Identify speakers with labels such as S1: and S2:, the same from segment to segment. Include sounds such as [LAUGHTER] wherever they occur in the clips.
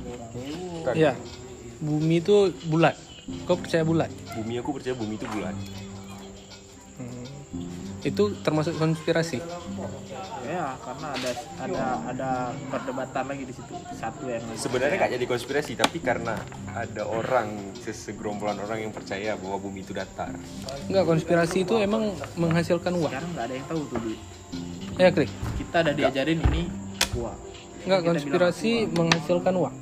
S1: bukan
S2: Iya. Bumi itu bulat. Kau percaya bulat?
S1: bumi aku percaya bumi itu bulat
S2: Itu termasuk konspirasi.
S3: ya karena ada ada ada perdebatan lagi di situ satu yang
S1: sebenarnya nggak jadi konspirasi tapi karena ada orang sesegerombolan orang yang percaya bahwa bumi itu datar
S2: Enggak, konspirasi itu emang menghasilkan uang.
S3: sekarang nggak ada yang tahu tuh Dwi.
S2: Ya, Krik.
S3: kita udah diajarin ini gua
S2: Enggak, konspirasi menghasilkan uang.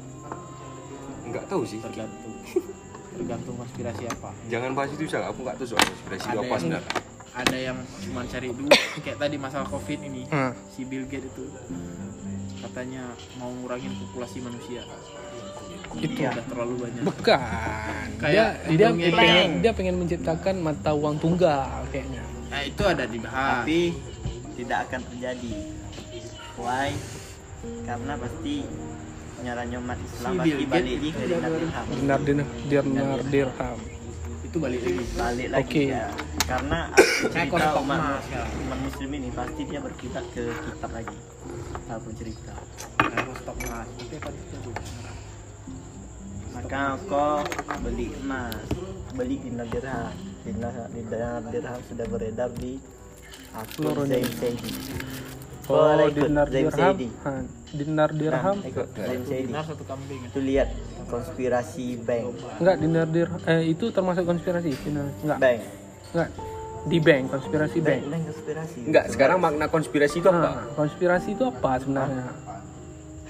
S1: nggak tahu sih
S3: tergantung tergantung konspirasi apa
S1: jangan bahas itu salah aku nggak tahu soal konspirasi itu apa
S3: Ada yang-
S1: sebenarnya
S3: ada yang cuma cari duit kayak tadi masalah covid ini
S2: Nah,
S3: si Bill Gates itu katanya mau ngurangin populasi manusia
S2: Itu. ya.
S3: udah terlalu banyak
S2: bukan. Dia
S3: Kayak
S2: dia
S3: hidungnya
S2: pengen
S3: kayak-
S2: dia pengen menciptakan mata uang tunggal kayaknya.
S3: nah itu ada dibahas
S4: tapi tidak akan terjadi why karena pasti nyaran umat Islam
S3: Si Bill
S4: pasti
S3: Gates
S4: balik lagi ke dinar dirham
S2: Dinar dinar dinar dirham.
S3: itu balik lagi
S4: balik lagi
S2: Oke.
S4: ya karena
S3: Kayak
S4: cerita
S3: kotak
S4: umat,
S3: emas ya.
S4: umat muslim ini pasti dia berkitab ke kitab lagi apapun cerita
S3: harus stop mas Itu apa itu?
S4: maka kau beli emas beli dinar dirham dinar, dinar dirham sudah beredar di akun
S2: Seluruh
S4: Zain Saidi
S2: Oh,
S4: Boleh ikut,
S2: dinar
S4: Zain
S2: dirham.
S4: Saidi.
S2: Nah, Dinar dirham.
S4: Nah, ikut Zain
S3: Satu
S4: Saidi
S3: dinar satu kambing
S4: itu lihat konspirasi bank
S2: Enggak, dinar dirham eh, itu termasuk konspirasi. Dinar- Enggak.
S4: bank
S2: Enggak. Di bank, konspirasi bank.
S4: bank bank konspirasi
S1: nggak
S4: Sebenarnya
S1: sekarang makna konspirasi itu
S2: Nah,
S1: apa
S2: konspirasi itu apa sebenarnya?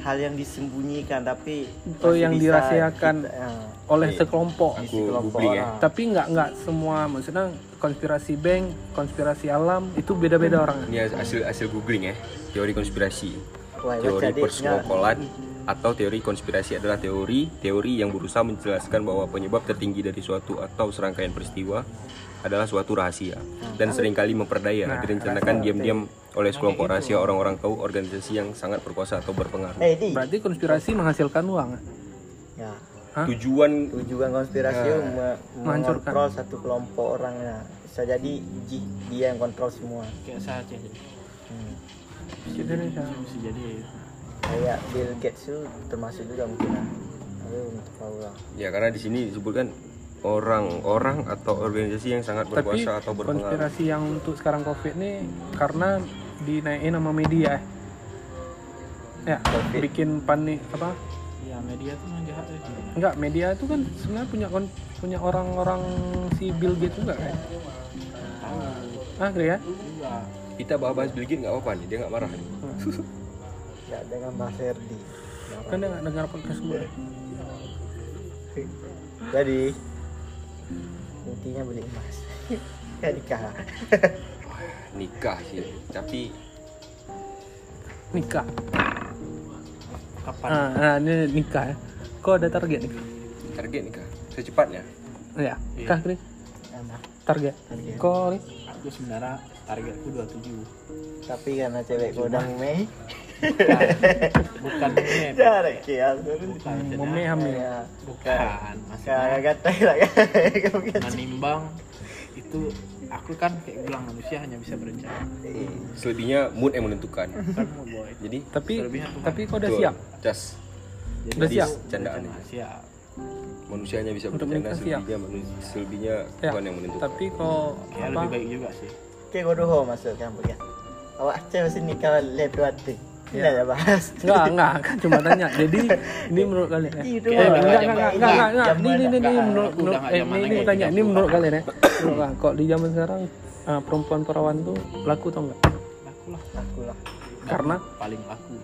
S4: hal yang disembunyikan tapi
S2: Oh,
S4: masih
S2: yang
S4: bisa
S2: dirahasiakan.
S4: kita- ya,
S2: Oleh
S1: Iya.
S2: sekelompok.
S4: di
S1: Aku
S4: sekelompok
S1: googling ya.
S4: orang.
S2: Tapi nggak nggak semua maksudnya konspirasi bank, konspirasi alam itu beda-beda orangnya.
S1: ini hasil hasil googling ya teori konspirasi
S4: Wah, baca
S1: teori
S2: ya.
S4: deh,
S1: persekongkolan atau teori konspirasi adalah teori teori yang berusaha menjelaskan bahwa penyebab tertinggi dari suatu atau serangkaian peristiwa adalah suatu rahasia
S2: Hmm.
S1: dan seringkali memperdaya
S2: Nah,
S1: direncanakan diam-diam oleh sekelompok rahasia orang-orang tahu organisasi yang sangat berkuasa atau
S4: enggak.
S1: berpengaruh
S4: eh di
S2: Berarti konspirasi menghasilkan uang.
S4: ya,
S2: Hah?
S1: tujuan
S4: tujuan konspirasi itu me-
S2: Menghancurkan.
S4: mengontrol satu kelompok orang nah. bisa jadi ji- dia yang kontrol semua
S3: kayak saya aja jadi
S4: Hmm.
S2: Gitu
S3: mesti jadi
S4: kayak Bill Gates itu termasuk juga mungkin nah. tapi untuk tahu lah
S1: ya karena di sini disebutkan orang-orang atau organisasi yang sangat
S2: Tapi
S1: berkuasa atau berpengaruh
S2: konspirasi yang untuk sekarang covid nih karena dinaikin sama media. eh. Ya,
S4: Covid.
S2: bikin panik apa?
S3: ya media tuh yang jahat ya
S2: Enggak, media itu kan sebenarnya punya kon- punya orang-orang si Bill Gates juga kan. Ah, Gre, ya?
S3: juga
S1: kita bahas-bahas Bill Gates nggak apa-apa nih dia nggak marah nih.
S4: ya dengan Mas Herdi Ya,
S2: Kan dia nggak dengar podcast gue.
S4: jadi intinya beli emas [LAUGHS] ya nikah
S1: nikah sih tapi
S2: Nikah.
S3: kapan
S2: Ah, nah, ini nikah ya. Kok ada target nikah?
S1: target nikah secepatnya
S2: Ya,
S3: Iya.
S2: nikah, Gre.
S4: Enak.
S2: Target.
S4: Target.
S2: Kok, Ri?
S3: aku sebenarnya targetku
S2: [LAUGHS]
S3: 27
S4: tapi karena cewek godang Mei
S3: bukan ini
S4: Jarek ya,
S3: bukan
S2: Mami hamil.
S4: ya.
S3: bukan maksudnya
S4: Kagak tai lah
S2: Ya.
S4: kan.
S3: menimbang itu aku kan kayak bilang manusia hanya bisa berencana
S2: Eh.
S1: Hmm, selebihnya mood yang menentukan
S3: kan mau boy
S1: jadi
S2: Tapi
S3: Selebihnya Tuhan.
S2: tapi kok udah
S1: Betul.
S2: siap?
S1: Jas.
S3: Jadi
S2: Udah siap?
S1: Candaan.
S3: berencana, siap
S1: Manusia hanya bisa
S2: Untuk
S1: bercanda
S2: menikah siap.
S1: selebihnya manusia selebihnya
S2: Ya.
S1: Tuhan yang menentukan.
S2: Tapi kok
S3: kayak
S2: apa?
S3: Ya, lebih baik juga sih
S4: Ke godoh masuk kampung ya. Awak aceh mesti nikah lewat hati. Tidak ya bahas. [LAUGHS]
S2: Enggak, enggak, kan cuma tanya. Jadi ini menurut kalian ya?
S4: Itu
S2: Eh,
S4: mah
S2: enggak,
S4: zaman-
S2: enggak, enggak, enggak, enggak. Ini,
S4: zaman-
S2: ini, ini,
S3: enggak,
S2: menurut,
S3: udah
S2: menurut,
S3: enggak
S2: eh,
S3: zaman
S2: ini, ini
S3: lagi,
S2: tanya, ini
S3: 30.
S2: menurut kalian ya? Menurut kalian, kok di zaman sekarang eh, perempuan perawan tuh laku atau enggak?
S3: laku lah
S4: Aku lah.
S2: Karena
S3: paling laku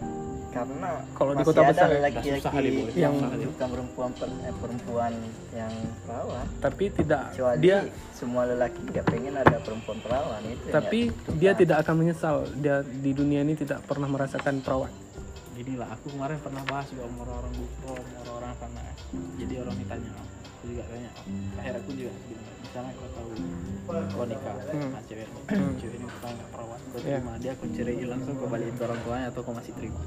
S4: Karena
S2: Kalau di
S4: masih
S2: kota
S4: ada
S2: besar ya,
S3: susah kali,
S4: laki-laki
S3: Boy.
S4: yang
S2: Susah
S3: kali.
S4: bukan perempuan per- eh, perempuan yang perawan.
S2: tapi tidak
S4: Kecuali
S2: dia
S4: semua lelaki nggak pengen ada perempuan perawan itu. ya. yang
S2: tapi
S4: nggak
S2: dia
S4: suka.
S2: tidak akan menyesal dia di dunia ini tidak pernah merasakan perawan.
S3: gini lah aku kemarin pernah bahas juga sama orang-orang bukro sama orang-orang sana ya. jadi orang ditanya aku juga tanya akhirnya aku juga gini, misalnya kau tahu kau nikah sama cewek cewek ini kau nggak perawan kau
S2: Hmm. Iya.
S3: terima dia kau cerai langsung kau balikin ke orang tuanya atau kau masih terima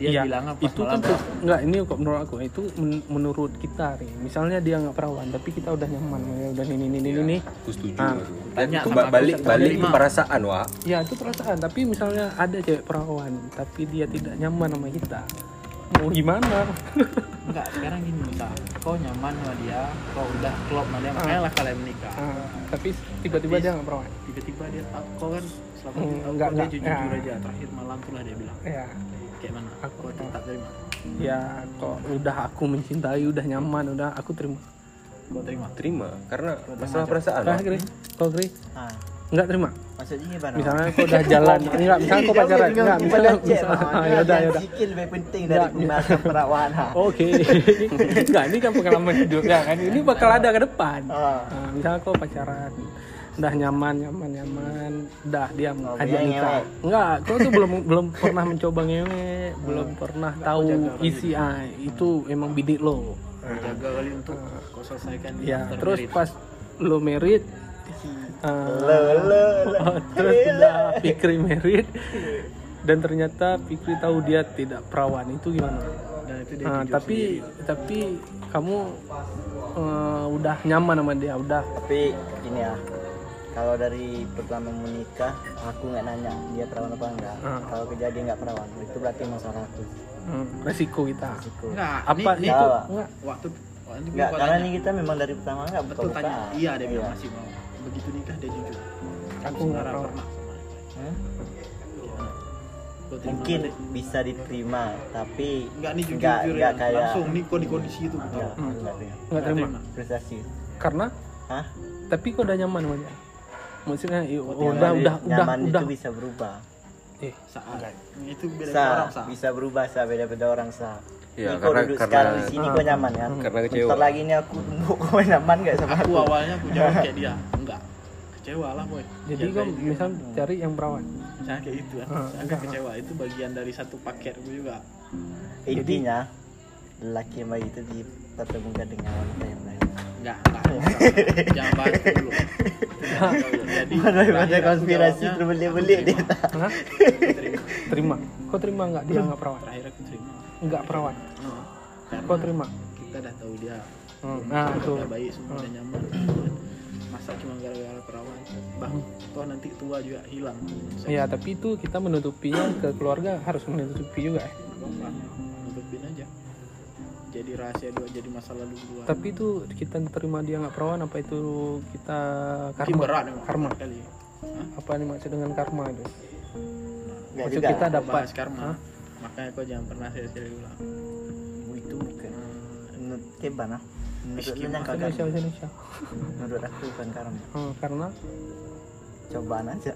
S3: dia
S2: Iya,
S3: bilangnya pas
S2: itu
S3: malam
S2: kan tuh- enggak ini kok menurut aku itu men- menurut kita nih. Misalnya dia nggak perawan tapi kita udah nyaman, ya, udah ini ini ini ini.
S1: aku setuju.
S2: Ah.
S1: Mas. Dan
S3: Tanya
S1: keba-
S3: sama aku,
S1: balik
S3: satu
S1: balik
S3: kali
S1: ke
S3: lima.
S1: perasaan wah.
S3: Iya.
S2: Ya itu perasaan, tapi misalnya ada cewek perawan, tapi dia tidak nyaman sama kita. mau gimana
S3: enggak sekarang gini misal kau nyaman sama dia kau udah klop sama dia makanya lah kalian menikah
S2: Ah, tapi tiba-tiba
S3: Tapi-
S2: dia nggak pernah
S3: tiba-tiba dia tahu kau kan selama
S2: Hmm,
S3: ini tahu
S2: enggak,
S3: kau dia
S2: enggak.
S3: jujur jujur
S2: Ya.
S3: aja terakhir malam tuh lah dia bilang
S2: ya
S3: kayak mana
S2: Aku- ah.
S3: aku tetap terima
S2: ya kok udah aku mencintai udah nyaman udah aku terima
S3: kau terima
S1: terima karena masalah perasaan
S2: Nah, Grace, kok Grace
S4: Nah,
S2: nggak terima.
S4: maksudnya gimana?
S2: Misalnya kau udah jalan,
S3: [LAUGHS]
S2: enggak, misalnya kau pacaran, enggak,
S3: gitu.
S2: misalnya, misalnya, [LAUGHS] ya udah, ya udah.
S4: Zikir lebih penting dari
S2: Nggak.
S4: pembahasan perawan. ha.
S2: Oke, [LAUGHS] enggak ini kan pengalaman hidup ya kan, ini bakal ada ke depan.
S4: Ah.
S2: Nah, misalnya kau pacaran, udah nyaman, nyaman, nyaman, udah dia
S4: Oh,
S2: aja
S4: dia
S2: nikah.
S4: ngewek.
S2: Enggak, kau tuh belum [LAUGHS] belum pernah mencoba ngewe, belum pernah tahu isi ah, itu emang bidik lo.
S3: kau jaga kali untuk kau selesaikan di
S2: Ya,
S3: after
S2: terus
S3: married.
S2: pas lo merit, eh,
S4: Le, le, le.
S2: [LAUGHS] terus udah Pikri merit dan ternyata Pikri tahu dia tidak perawan itu gimana?
S3: dan itu dia gitu.
S2: Nah, tapi tapi kamu eh, udah nyaman sama dia udah
S4: Tapi gini ya, kalau dari pertama menikah, aku nggak nanya dia perawan apa enggak.
S2: Ah.
S4: Kalau kejadian nggak perawan, itu berarti masalah aku.
S2: hmm, resiko kita.
S4: Siku.
S3: enggak
S2: Apa
S3: ini, ini
S4: Tahu,
S3: tuh
S4: Pak.
S2: Enggak.
S3: waktu waktu
S4: Enggak,
S3: gua
S4: karena
S3: tanya.
S4: ini kita memang dari pertama nggak
S3: betul
S4: buka-buka.
S3: tanya iya dia bilang masih mau begitu nikah dia jujur
S2: Aku nggak
S3: saudara
S2: tahu.
S3: pernah sama dia.
S4: Hmm?
S3: Gimana? Kau terima
S4: Mungkin
S3: nggak?
S4: bisa diterima, tapi
S3: enggak nih jujur
S4: nggak-
S3: jujur ya
S4: nggak kayak
S3: langsung nih kok di kondisi itu betul
S4: Nggak, nggak terima.
S2: nggak terima
S4: Frustasi.
S2: karena
S4: Hah?
S2: tapi kok udah nyaman sama dia. Maksudnya iya,
S4: Yang
S2: udah
S4: dari
S2: udah udah
S4: nyaman
S2: udah.
S4: itu bisa berubah.
S2: Eh,
S3: saat itu beda
S4: Sa,
S3: orang sa
S4: bisa berubah sa beda-beda orang sa.
S1: Ya,
S4: ini kau
S1: karena- karena-
S4: duduk
S1: Hmm.
S4: sekarang di sini kau nyaman kan?
S1: karena kecewa.
S4: Bentar lagi ini aku [LAUGHS] tunggu kau nyaman nggak sama
S3: aku
S4: aku?
S3: awalnya aku jawab kayak
S4: [LAUGHS]
S3: dia enggak kecewa lah boy
S2: jadi
S3: Ya,
S2: kau
S3: kayak-
S2: misal cari yang perawan.
S3: misalnya kayak gitu kan
S2: Ah,
S3: saya
S2: enggak,
S3: agak kecewa itu bagian dari satu paket aku juga
S4: Intinya lelaki yang baik itu dipertemukan dengan wanita yang lain.
S3: enggak [LAUGHS] enggak jangan bahas itu dulu jadi
S4: Ada
S3: terakhir aku
S4: konspirasi
S3: jawabnya,
S4: terbelit-belit
S3: aku
S4: dia.
S3: terima.
S2: Hah?
S3: Aku terima.
S2: terima. Kau terima nggak dia nggak perawan?
S3: terakhir aku terima
S2: Nggak perawan.
S3: Nah,
S2: Kau
S3: karena
S2: terima.
S3: kita udah tahu dia
S2: Hmm, Nah itu.
S3: udah baik semua udah nyaman masa cuma gara-gara perawan bah toh nanti tua juga hilang
S2: Ya
S3: Iya.
S2: tapi itu kita menutupinya ke keluarga harus menutupi juga. ya.
S3: apa nutupin aja jadi rahasia dua jadi masa lalu dua
S2: Tapi itu kita terima dia nggak perawan apa itu kita
S3: Mungkin
S2: karma?
S3: berat memang
S2: Karma.
S3: kali ya.
S2: Apa yang dimaksud dengan karma itu?
S4: Nggak
S2: Maksud
S4: juga.
S2: kita
S3: Kau
S2: dapat
S3: bahas karma makanya kau jangan pernah sekali-sekali ulang
S4: "Oh, itu bukan menurut keban ah. Menurut lu yang kagak.
S2: Indonesia Indonesia.
S4: Menurut aku bukan karma.
S2: Hmm, karena
S4: Cobaan aja.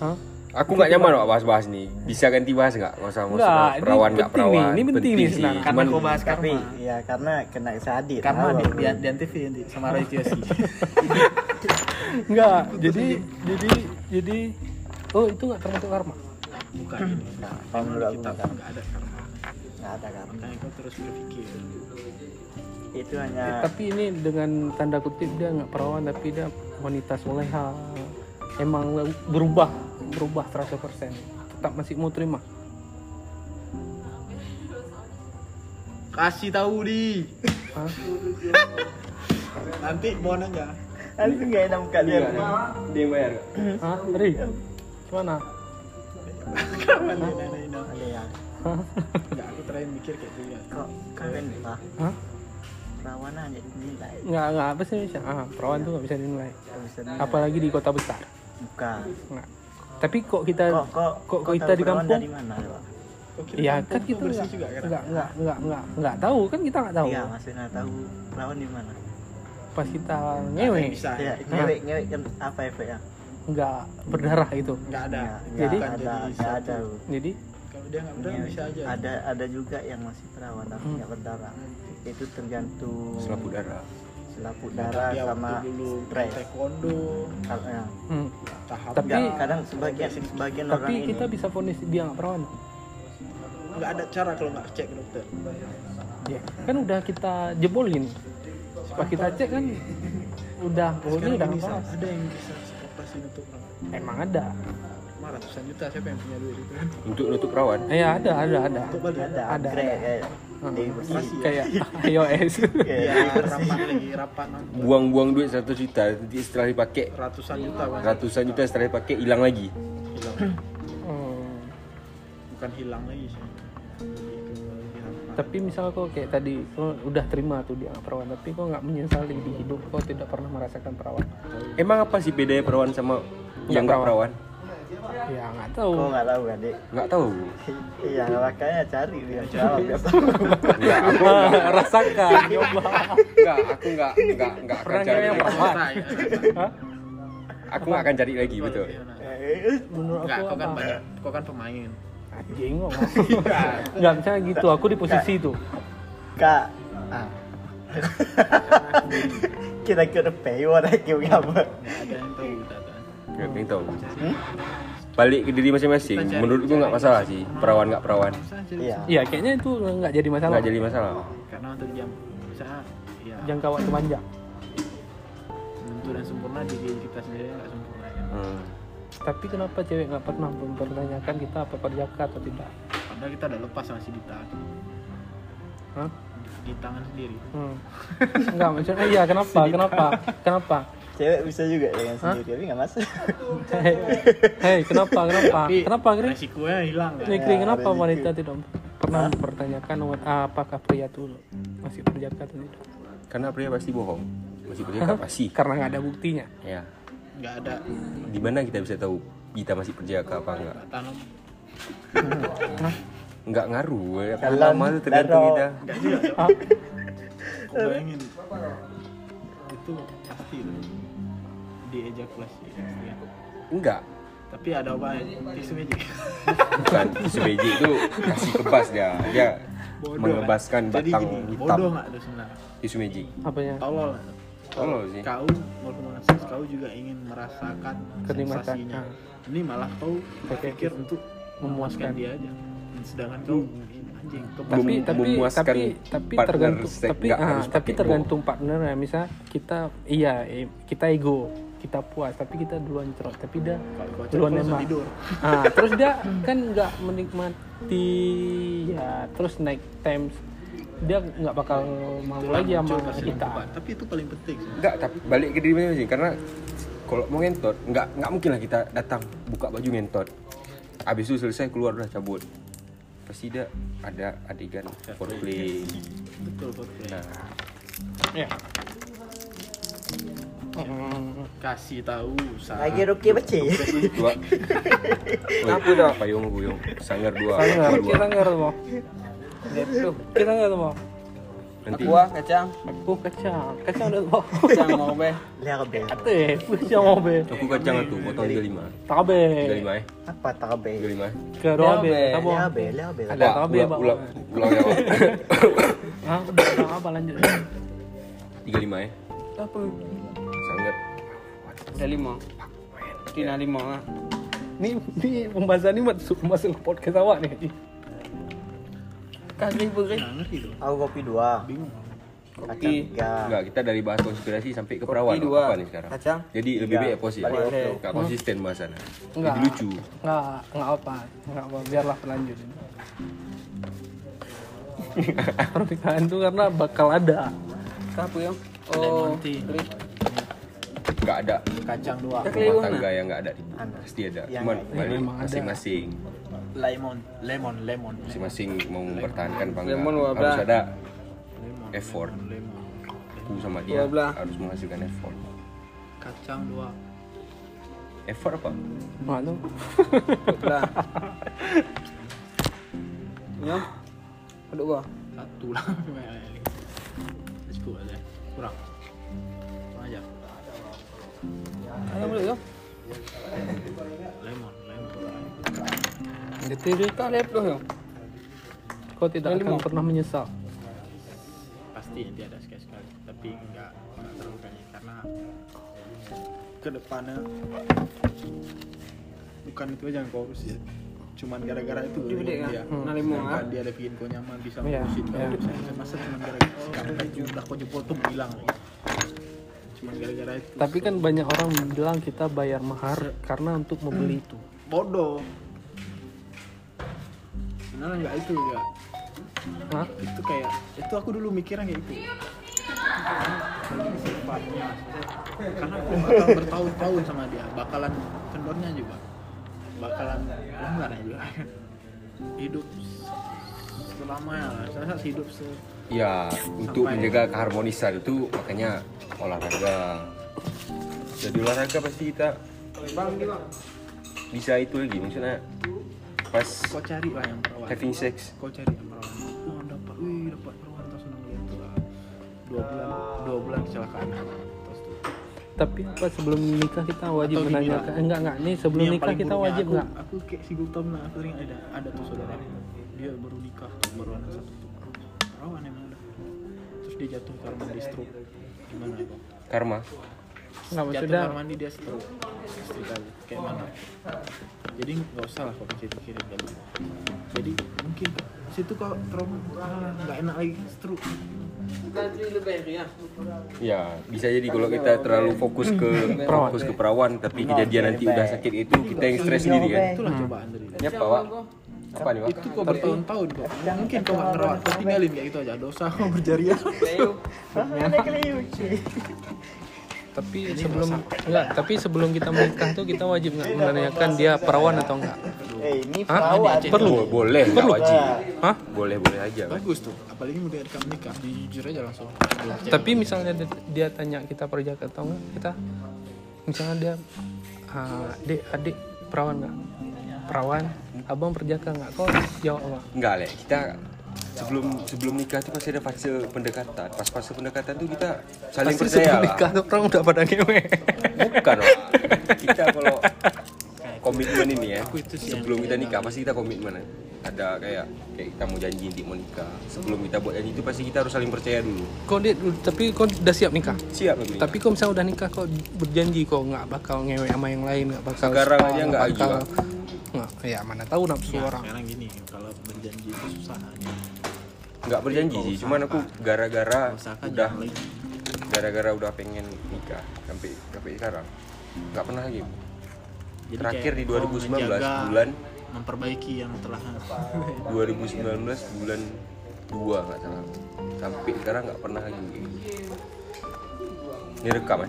S2: Hah?
S1: Aku nggak nyaman Wak, bahas-bahas nih. Bisa ganti bahas nggak? Nggak usah
S2: Nggak,
S1: masalah
S2: ini
S1: perawan nggak
S2: penting nih,
S1: perawan.
S2: ini penting nih
S1: sih.
S2: sebenarnya.
S1: Cuman
S3: kau bahas
S4: Tapi ya karena kena sadit.
S3: karma
S4: tahu
S3: di,
S4: aku.
S3: di, di antv nanti sama Roy Kiyoshi
S2: Nggak. Jadi jadi jadi oh itu nggak termasuk karma.
S3: [LAUGHS] bukan ini
S4: Nah, kalau menurut aku
S3: kita
S4: nggak-
S3: nggak ada karma
S4: nggak ada karma.
S3: makanya kau terus berpikir
S4: Itu hanya
S3: Ya.
S2: Eh, tapi ini dengan tanda kutip dia nggak perawan tapi dia wanita soleha. Emang berubah berubah 100% tetap masih mau terima
S3: kasih tahu di
S2: Hah?
S3: nanti mau nanya
S4: Aku nggak enak muka
S2: Iya,
S4: dia.
S1: Dia bayar.
S2: Hah? Hmm. Ri? Gimana?
S3: karma nah, nah, nah, nah.
S4: Ada yang
S2: Hah?
S3: nggak aku terakhir mikir kayak gitu ya
S4: kok kalian ah
S2: Hah?
S4: perawan aja dinilai
S2: Nggak, nggak apa sih Indonesia? Ah, perawan tuh nggak bisa
S3: Nah,
S2: dinilai.
S4: Nggak bisa dinilai.
S2: Apalagi di kota besar.
S4: bukan
S2: Nggak. Tapi kok kita,
S4: kok kok
S2: Eh, kok,
S4: kau
S2: kita
S4: tahu
S2: di
S4: perawan
S2: kampung?
S4: dari mana Pak?
S3: Kau Oh, kira
S2: Iya
S3: kampung
S2: kan
S3: kau
S2: kita
S3: bersih
S2: nggak
S3: juga kan
S2: nggak nggak nggak nggak nggak tahu kan kita nggak tahu.
S4: iya maksudnya tahu perawan di mana
S2: Pas kita
S3: Nggak
S2: ngewe
S3: bisa
S4: ya ngewek ngewek kan apa efeknya
S2: nggak berdarah itu.
S3: nggak ada
S4: ya,
S2: Nah, Jadi- Iya.
S4: nggak ada nggak ada Bu.
S2: Jadi
S3: kalau dia nggak berani
S4: Ngewek.
S3: bisa aja
S4: ada ada juga yang masih perawan tapi
S2: Hmm.
S4: nggak berdarah itu tergantung
S1: Selaput darah.
S4: selaput darah
S2: Iya,
S3: dia
S4: sama
S3: waktu dulu
S4: stres
S3: taekwondo
S4: kalau ya.
S2: hmm,
S3: tahap
S2: Tapi-
S4: Nggak, kadang sebagian sebagian orang
S2: tapi
S4: ini
S2: kita bisa vonis dia nggak perawan.
S3: nggak ada cara kalau nggak cek ke dokter
S2: Ya, kan udah kita jebolin. Pas kita cek kan udah oh ini udah nggak
S3: Sekarang gini,
S2: perawan.
S3: Sa, ada yang bisa operasi untuk orang
S2: Emang ada.
S3: Emang ratusan juta siapa yang punya duit itu
S1: Untuk nutup perawan.
S2: Ya ada ada ada.
S3: untuk balik
S4: ada ya,
S2: Ada.
S4: upgrade kayak
S2: Hmm.
S4: Dewi Bersih.
S2: Kayak iOS.
S4: Kayak
S3: ya
S4: Dewi Iya, Bersih.
S3: rapat lagi rapat nonton
S1: Buang-buang duit 100 juta. Jadi setelah dipakai
S3: ratusan
S4: Iya.
S3: juta Mas.
S1: ratusan juta setelah dipakai hilang lagi.
S3: hilang
S2: Hmm.
S3: bukan hilang lagi sih Lebih ke- lebih apa.
S2: tapi misal kau kayak tadi kau udah terima tuh dia perawan tapi kau nggak menyesali di hidup kau tidak pernah merasakan perawan
S1: Emang apa sih bedanya perawan sama yang nggak perawan?
S2: ya nggak tahu
S4: Kok nggak tahu adik?
S1: Nggak tahu.
S2: [LAUGHS]
S4: Iya makanya cari
S3: Iya,
S4: dia jawab ya.
S1: Nggak, aku
S2: rasakan nyoba
S1: nggak, aku nggak, nggak, nggak akan
S2: Orangnya
S1: cari.
S2: yang
S1: lagi.
S2: perawan.
S3: Nah, iya.
S1: [LAUGHS]
S2: Hah?
S1: Aku nggak akan cari lagi Iya, betul.
S3: Oh.
S2: menurut
S3: nah. Enggak,
S2: aku
S3: kau kan
S2: apa
S3: banyak, kau kan pemain.
S2: anjing kok nggak misalnya gitu aku di posisi itu
S4: Kak. Ah. Kira-kira paywall lagi apa?
S3: Enggak ada yang tahu tata.
S1: Nggak ada yang tahu. Balik ke diri masing-masing. Hmm? Menurutku nggak masalah sih perawan nggak perawan.
S3: Misalnya jadi
S4: Iya.
S2: ya kayaknya itu nggak jadi masalah
S1: Nggak jadi masalah.
S3: karena untuk jam misalnya ya
S2: jangka waktu panjang
S3: tentu dan sempurna di diri kita sendiri nggak sempurna ya.
S1: Hmm.
S2: tapi kenapa cewek nggak pernah mempertanyakan kita apa perjaka atau tidak
S3: Padahal kita udah lepas masih di tangan
S2: Hah?
S3: di tangan sendiri.
S2: [LAUGHS] Hmm. Enggak, maksudnya iya kenapa? Kenapa? Kenapa?
S4: Cewek bisa juga dengan sendiri tapi nggak masuk.
S3: [LAUGHS]
S2: Hei, hei, kenapa? Kenapa?
S3: Tapi
S2: Kenapa, Kri?
S3: Resikonya hilang kan.
S2: Ini Kri, kenapa
S4: ada
S2: wanita tidak pernah mempertanyakan wa- apakah pria itu masih perjaka atau tidak?
S1: Karena pria pasti bohong. Masih perjaka pasti.
S2: Karena nggak ada buktinya.
S1: Ya.
S3: Nggak ada
S1: Di mana kita bisa tahu kita masih perjaka apa enggak?
S3: tanam
S1: Enggak ngaruh. eh.
S4: Dalam,
S1: Lama itu tergantung
S4: dalam.
S1: kita.
S3: nggak juga. Aku bayangin itu pasti itu di ejakulasi. Ya.
S1: Enggak.
S3: Tapi ada obat tisu magic.
S1: Bukan sebeji itu kasih kebas dia. Dia mengebaskan
S3: Jadi
S1: batang
S3: gini,
S1: hitam
S3: bodoh nggak tuh sebenarnya.
S1: isu magic.
S2: Apanya?
S3: Tolol.
S1: Tolol sih.
S3: Kau walaupun seks kau juga ingin merasakan
S2: Kenikmatan.
S3: sensasinya. Ini malah kau
S2: Pakai
S3: berpikir untuk
S2: Memuaskan. Hmm.
S3: memuaskan
S2: Nah,
S3: dia aja. Sedangkan kau anjing kau
S2: tapi
S1: Mem-
S2: tapi
S1: memuaskan
S2: tapi tapi
S1: partner
S2: tergantung
S1: seks,
S2: tapi
S1: nggak
S2: ah,
S1: harus
S2: tapi
S1: pakai
S2: tergantung partner ya misal kita iya eh, kita ego kita puas tapi kita duluan cerot tapi dia
S3: Kalau kau
S2: duluan
S3: langsung
S2: nembak
S3: tidur.
S2: ah terus dia kan nggak menikmati ya terus naik times dia nggak bakal mau
S3: Itu
S2: lagi sama
S3: muncul pas
S2: kita
S3: kehidupan. Tapi itu paling penting.
S1: Enggak, tapi balik ke diri masing-masing karena kalau mau ngentot, enggak enggak mungkin lah kita datang buka baju ngentot. Habis itu selesai keluar udah cabut. Pasti dia ada adegan foreplay.
S3: Betul betul.
S1: Nah,
S2: ya Hmm,
S3: Kasih tahu usaha.
S4: Lagi ruki beci.
S1: dua. Apa dah? Payung payung. Sanggar dua.
S2: sangar
S1: dua.
S2: kita nggak mau Gitu, kita nggak mau
S1: Nanti
S5: Aku ah, kacang,
S2: aku kacang kacang udah mau
S5: kacang mau be.
S4: Lihat be.
S2: teh kacang mau be
S1: aku kacang tuh potong 35.
S2: tabe
S1: 35 eh.
S4: Apa tabe?
S1: 35. eh.
S2: Kedua B,
S5: Tabe.
S2: tabung.
S4: Lihat be, lihat be.
S2: Ada
S1: Wah,
S2: tabe,
S1: ulang-
S2: Bang.
S1: ulang- ulang [LAUGHS] ya, Bang.
S2: Hah, udah udah apa lanjut?
S1: 35 eh. Apa? Sanggar.
S5: Udah lima. Tina
S6: Ya.
S5: lima ah.
S2: Nih, nih pembahasan ini masuk masuk ke podcast awak nih.
S5: Kasih beri.
S3: Nggak ngerti tuh.
S4: Aku kopi dua.
S3: Bingung.
S4: Kacang tiga.
S1: Enggak, kita dari bahas konspirasi sampai ke perawan.
S5: Kopi Oh, dua.
S1: Apa nih sekarang?
S5: Kacang. Ya,
S1: Jadi lebih baik positif.
S5: Balik
S1: Enggak Nggak konsisten bahasannya.
S2: Nggak.
S1: Jadi lucu.
S2: Nggak, nggak apa, nggak apa. Biarlah pelanjut. ini. [LAUGHS] Pernikahan itu karena bakal ada.
S5: Kapu yang. Oh,
S3: Lemon tea.
S5: beri.
S1: Enggak ada
S3: Kacang dua.
S5: Dah
S1: rumah
S5: keliru
S1: tangga
S5: nah.
S1: yang enggak ada. Pasti ada.
S4: Yang
S1: Cuman
S4: nggak
S1: balik
S2: Memang ada.
S1: masing-masing.
S3: Lemon, lemon,
S4: [LAUGHS]
S3: lemon.
S1: Masing-masing mau mempertahankan apa enggak.
S5: Lemon dua
S1: Harus
S5: belas.
S1: ada
S3: Lemon.
S1: effort.
S3: Lemon.
S1: Aku sama dia
S5: Dua belas.
S1: harus menghasilkan effort.
S3: Kacang dua.
S1: Effort apa?
S2: Nggak tuh.
S6: [LAUGHS]
S5: Lah. Ya. Aduh gua.
S3: Satu lah. [LAUGHS] Cukup aja. Kurang. Kurang aja.
S5: Ayo boleh yo.
S3: Lemon, lemon.
S5: Detik dia tak lep doh yo.
S2: Kau tidak akan pernah menyesal.
S3: Pasti nanti ada sekali-sekali. Tapi nggak nggak terlalu banyak karena kedepannya bukan itu aja yang kau urus ya cuman gara-gara itu
S5: Dia bedek kan?
S3: dia
S5: Nah lima ah.
S3: Kan dia ada bikin kau nyaman bisa
S2: Hmm. Iya,
S3: ngurusin kau
S2: iya.
S3: hidup saya masa cuma gara-gara sekarang aja udah kau jempol tuh bilang lagi cuma gara-gara itu
S2: Tapi kan banyak orang bilang kita bayar mahar karena untuk
S3: Hmm.
S2: membeli itu.
S3: bodoh sebenarnya nggak itu ya
S2: Hah?
S3: itu kayak itu aku dulu mikirnya kayak gitu Sifatnya. karena aku bakal bertahun-tahun sama ya, dia bakalan kendornya juga bakalan longgarnya juga hidup selama ya saya hidup se
S1: Ya, untuk
S3: Sampai-
S1: menjaga keharmonisan itu makanya olahraga. Jadi olahraga pasti kita bisa itu lagi maksudnya pas
S3: kau cari lah yang perawan
S1: having sex.
S3: kau cari yang perawan oh dapat wih dapat perawan terus senang lihat tuh ah. dua bulan dua bulan kecelakaan terus tuh
S2: Tapi apa sebelum nikah kita wajib
S3: Atau dibilang.
S2: menanyakan enggak enggak nih sebelum
S3: Ini yang
S2: nikah
S3: paling
S2: kita
S3: buruknya,
S2: wajib
S3: aku,
S2: enggak?
S3: aku kayak si Gultom lah aku sering ada ada tuh saudara dia baru nikah tuh, baru anak satu tuh perawan emang dah terus dia jatuh kamar mandi stroke gimana ya, bang
S1: Karma.
S2: Enggak
S3: jatuh
S2: maksudnya
S3: kamar mandi dia stroke istri kali kayak mana jadi nggak usah lah kau pikir pikirin kali gitu. jadi mungkin situ kau trauma ah, nggak enak lagi stroke
S1: Ya, bisa jadi kalau kita terlalu fokus ke fokus ke perawan tapi kejadian nanti udah sakit itu kita yang stres sendiri kan.
S3: itulah cobaan dari dia
S1: Ya, Pak. Apa nih, Pak?
S3: itu kau bertahun-tahun kok mungkin kau nggak merawat kau tinggalin kayak gitu aja dosa kau berjariah
S2: tapi sebelum enggak, tapi sebelum kita menikah tuh kita wajib enggak menanyakan dia perawan atau enggak?
S4: eh ini perawat
S1: Perlu boleh, nggak wajib.
S2: Hah?
S1: Boleh, boleh aja kan.
S3: bagus tuh apalagi mau dari kamu nikah jujur aja langsung
S2: Tapi misalnya dia- dia tanya kita perjaka atau enggak, kita misalnya dia ah, adik adik perawan enggak? Perawan, abang perjaka enggak? Kok jawab apa?
S1: Enggak, Lek. Kita sebelum sebelum nikah tuh pasti ada fase pendekatan. Pas fase pendekatan tuh kita saling
S2: Pasti
S1: percaya
S2: sebelum
S1: lah.
S2: nikah tuh orang udah pada ngewe.
S1: Bukan, Wak. [LAUGHS] Kita kalau komitmen ini ya. Sebelum kita nikah pasti kita komitmen. ya. Ada kayak kayak kita mau janji nanti mau nikah. Sebelum kita buat janji itu pasti kita harus saling percaya dulu.
S2: Kok dia tapi kok udah siap nikah?
S1: Siap belum nikah?
S2: Tapi kok misalnya udah nikah kok berjanji kok nggak bakal ngewe sama yang lain, nggak bakal
S1: Sekarang
S2: spa,
S1: aja nggak
S2: bakal
S1: aja.
S2: nggak ya mana tahu nafsu orang.
S3: sekarang gini kalau berjanji itu susah aja
S1: nggak berjanji sih cuman aku gara-gara
S3: usahakan
S1: udah
S3: jangan lagi
S1: gara-gara udah pengen nikah sampai sampai sekarang nggak pernah lagi
S3: Jadi
S1: terakhir
S3: kayak
S1: di
S3: kau
S1: 2019
S3: menjaga,
S1: bulan
S3: memperbaiki yang telah
S1: 2019 bulan 2 nggak salah sampai sekarang nggak pernah lagi ini rekam ya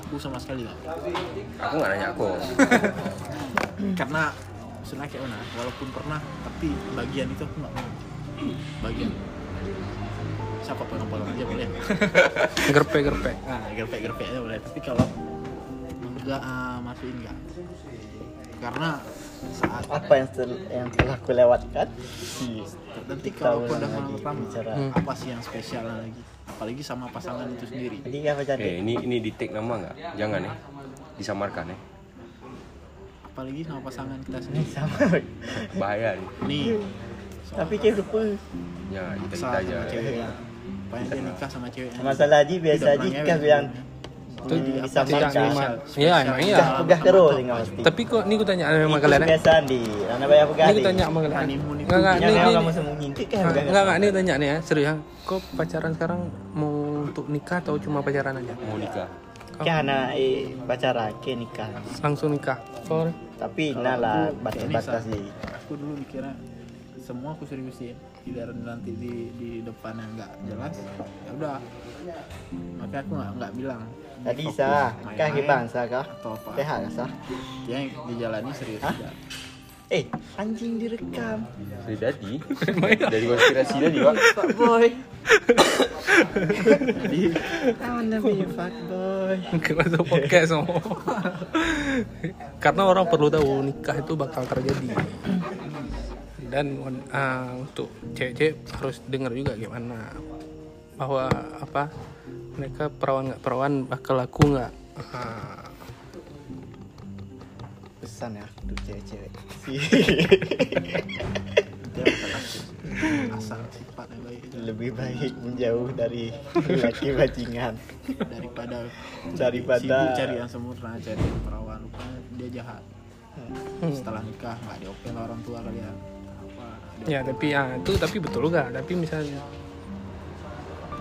S3: aku sama sekali lah
S1: aku nggak nanya aku
S3: karena sebenarnya kayak mana walaupun pernah tapi bagian itu aku nggak mau bagian siapa pengen aja boleh
S2: Gerpe gerpe.
S3: nah gerpek gerpek aja boleh tapi kalau enggak ah, masukin enggak karena saat
S4: apa yang, tel- yang telah aku lewatkan
S3: nanti kalau aku
S4: Kita
S3: udah
S4: ulang
S3: malam
S4: lagi
S3: pertama
S4: bicara.
S3: apa sih yang spesial lagi apalagi sama pasangan itu sendiri
S4: jadi apa jadi
S1: eh ini ini di take nama nggak jangan ya disamarkan ya
S3: apalagi sama pasangan kita sendiri
S4: sama
S1: bahaya nih
S3: nih
S4: tapi kayak lupa
S1: ya kita kita
S3: sama
S1: aja ya.
S3: ceweknya pengen dia nikah sama ceweknya
S4: masalah aja biasa aja kan yang
S2: Itu
S4: hmm,
S2: tidak
S4: bisa
S2: lima.
S4: makan
S2: Iya emang iya.
S4: pegah terus dengan pasti
S2: Ya. Tapi kok ini gue tanya sama kalian. ya.
S4: biasa di anak banyak pegah
S2: Ini
S4: di
S2: gue tanya sama kalian.
S3: Honeymoon itu
S2: Nggak nggak
S4: yang
S2: ini Ha,
S4: memang
S2: ini-
S4: kamu sembunyi itu kan
S2: nggak
S4: bukan
S2: nggak nggak, ini tanya nih ya serius ya. Kok pacaran sekarang mau untuk nikah atau cuma pacaran aja?
S1: mau nikah
S4: karena eh pacaran ke nikah
S2: Langsung nikah. Sorry.
S4: tapi nah lah batas-batas di
S3: aku dulu mikirnya semua aku seriusin tidak nanti di di depan yang nggak jelas ya udah makanya aku nggak nggak bilang
S4: tadi sah kah ke bangsa kah
S3: atau apa
S4: sehat kah sah
S3: yang dijalani serius
S4: Hah?
S3: juga.
S4: eh anjing direkam
S1: dari tadi dari konspirasi tadi pak
S4: fuck boy
S3: jadi
S4: I wanna [LAUGHS] be a fuck boy
S2: Mungkin masuk podcast semua. [LAUGHS] Karena orang perlu tahu nikah itu bakal terjadi. Dan eh, untuk cewek-cewek harus dengar juga gimana bahwa apa mereka perawan nggak perawan bakal laku nggak. Eh,
S4: pesan ya untuk cewek-cewek [LAUGHS]
S3: dia bukan aku sih. asal sifat yang baik aja.
S4: lebih baik menjauh dari laki bajingan
S3: daripada
S4: Daripada-
S3: sibuk cari yang sempurna cari yang perawan rupanya dia jahat setelah nikah nggak diopel orang tua kalian apa ada
S2: ya tapi ya itu tapi betul juga. Tapi misalnya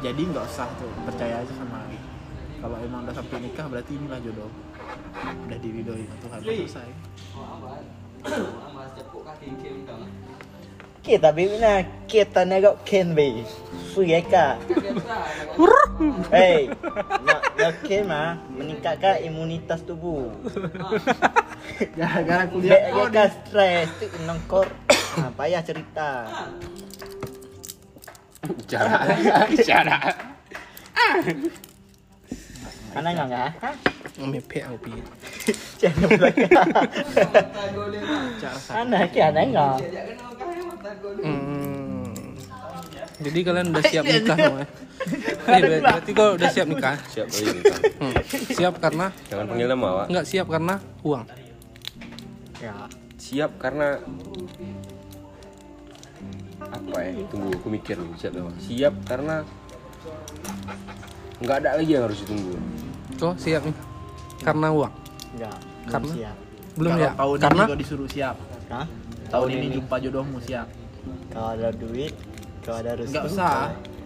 S3: jadi nggak usah tuh percaya aja sama Ali. kalau emang udah sampai nikah berarti inilah jodoh udah diridhoi sama Tuhan selesai
S4: kita bimina kita negok kenbe suyeka ah, hei yakin mah meningkatkan imunitas tubuh
S3: gara-gara kuliah
S4: Dia
S3: kok
S4: dia kan stres tuh nongkor. [COUGHS] Nah, Ah, payah cerita.
S5: Bicara, bicara.
S4: Mana enggak enggak?
S2: Mepe aku pi.
S4: Jangan belakang. Mana ki ada enggak?
S2: Hmm. Jadi kalian udah siap nikah semua? ya? Iya, ber- berarti kau udah siap nikah?
S1: Siap kali ini, Kang.
S2: Hmm. Siap karena
S1: Jangan panggil nama, Wak.
S2: nggak siap karena uang.
S4: Ya,
S1: Siap karena apa ya? Tunggu, aku mikir dulu. Siap, dong. siap karena nggak ada lagi yang harus ditunggu.
S2: Kau siap nih? Karena uang.
S4: enggak.
S2: Karena?
S4: Belum siap.
S2: Belum
S3: Kalau
S2: ya?
S3: tahun
S2: Karena
S3: ini kau disuruh siap
S4: Hah?
S3: tahun ini jumpa jodohmu siap
S4: Kalau ada duit, kalau ada rezeki.
S3: nggak usah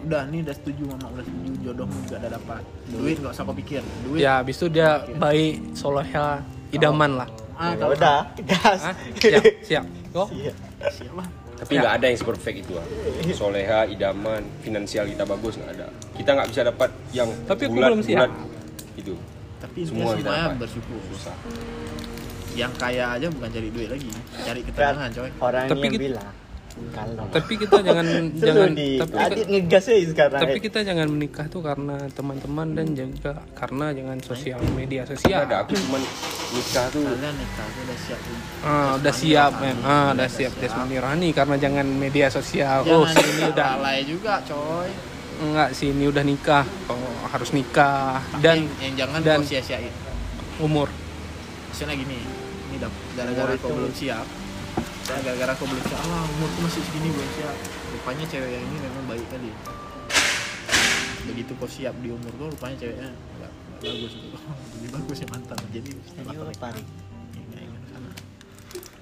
S3: udah nih udah setuju mama udah setuju jodohmu juga udah dapat duit nggak usah kau pikir duit
S2: ya habis itu dia baik solehnya idaman lah.
S3: ah
S4: Ya
S3: kalau
S4: udah, gas.
S2: Hah? Siap, siap. Kau?
S4: Iya.
S3: siap lah
S1: Tapi nggak ada yang perfect itu, ah. Wak. Ya. Soleha, idaman, finansial kita bagus nggak ada. Kita nggak bisa dapat yang
S2: Tapi aku
S1: bulat,
S2: belum siap.
S1: bulat itu
S3: tapi
S1: Semua
S3: semua semuanya
S1: dapat.
S3: bersyukur
S1: susah.
S3: yang kaya aja bukan cari duit lagi cari ketenangan coy
S4: Orang
S2: Tapi
S4: yang
S2: kita-
S4: bilang kalau [LAUGHS]
S2: Tapi kita jangan jangan
S4: jangan di
S2: tapi
S4: Adit ngegas ya sekarang.
S2: tapi
S4: eh.
S2: kita jangan menikah tuh karena teman-teman dan juga karena jangan sosial media sosial.
S1: Nggak ada, aku cuman nikah tuh
S3: kalian nikah tuh udah siap belum?
S2: Ah, udah siap men, ah, udah siap Desmond Irani karena jangan media sosial. Oh,
S3: jangan
S2: sini
S3: ini
S2: [LAUGHS] udah
S3: alay juga coy
S2: enggak sini udah nikah. Oh, harus nikah dan
S3: yang, yang jangan
S2: dan-
S3: kau sia-siain
S2: umur.
S3: maksudnya gini ini dap- gara-gara kau belum siap saya gara-gara kau belum siap ah umurku masih segini belum siap rupanya cewek yang ini memang baik kali begitu kau siap di umur kau rupanya ceweknya nggak nggak bagus [LAUGHS] lebih bagus ya mantan jadi
S2: Iya,
S4: Ini
S3: mantan
S4: apa nih?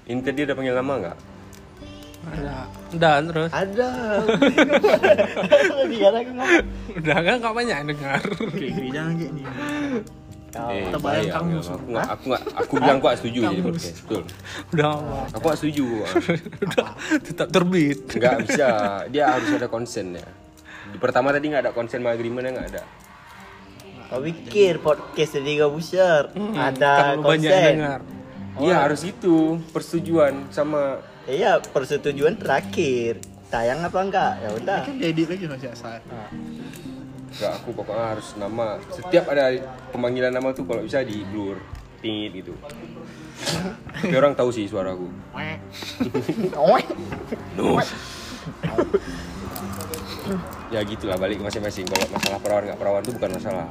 S1: Ini tadi udah panggil nama nggak?
S2: Ada. Udah terus. [LAUGHS]
S4: Ada. Dia lagi ngomong.
S2: Udah kan nggak banyak yang dengar. [LAUGHS]
S3: Kiri jangan kayak ini
S2: Ah,
S4: Kau-
S1: Eh,
S3: Tebalan
S1: bayang,
S3: kamu,
S1: Bang. aku nggak, aku nggak, aku bilang aku nggak setuju jadi podcast. Betul.
S2: Udah apa?
S1: Aku nggak setuju. Bang.
S2: Tetap terbit.
S1: Nggak bisa. Dia harus ada konsennya. Di pertama tadi nggak ada konsen sama agreement nggak ada.
S4: Kau pikir podcast jadi kau buser.
S2: Hmm,
S4: Ada
S2: terlalu banyak yang
S4: konsen.
S2: dengar. Oh.
S1: Iya harus itu persetujuan sama
S4: Iya, persetujuan terakhir. Tayang apa enggak? Ya udah.
S3: kan diedit lagi masih asal
S1: nggak aku pokoknya harus nama. Setiap ada pemanggilan nama tuh kalau bisa di blur, tingit gitu. Tapi orang tahu sih suara aku. Ya gitulah balik ke masing-masing. Kalau masalah perawan nggak perawan itu bukan masalah.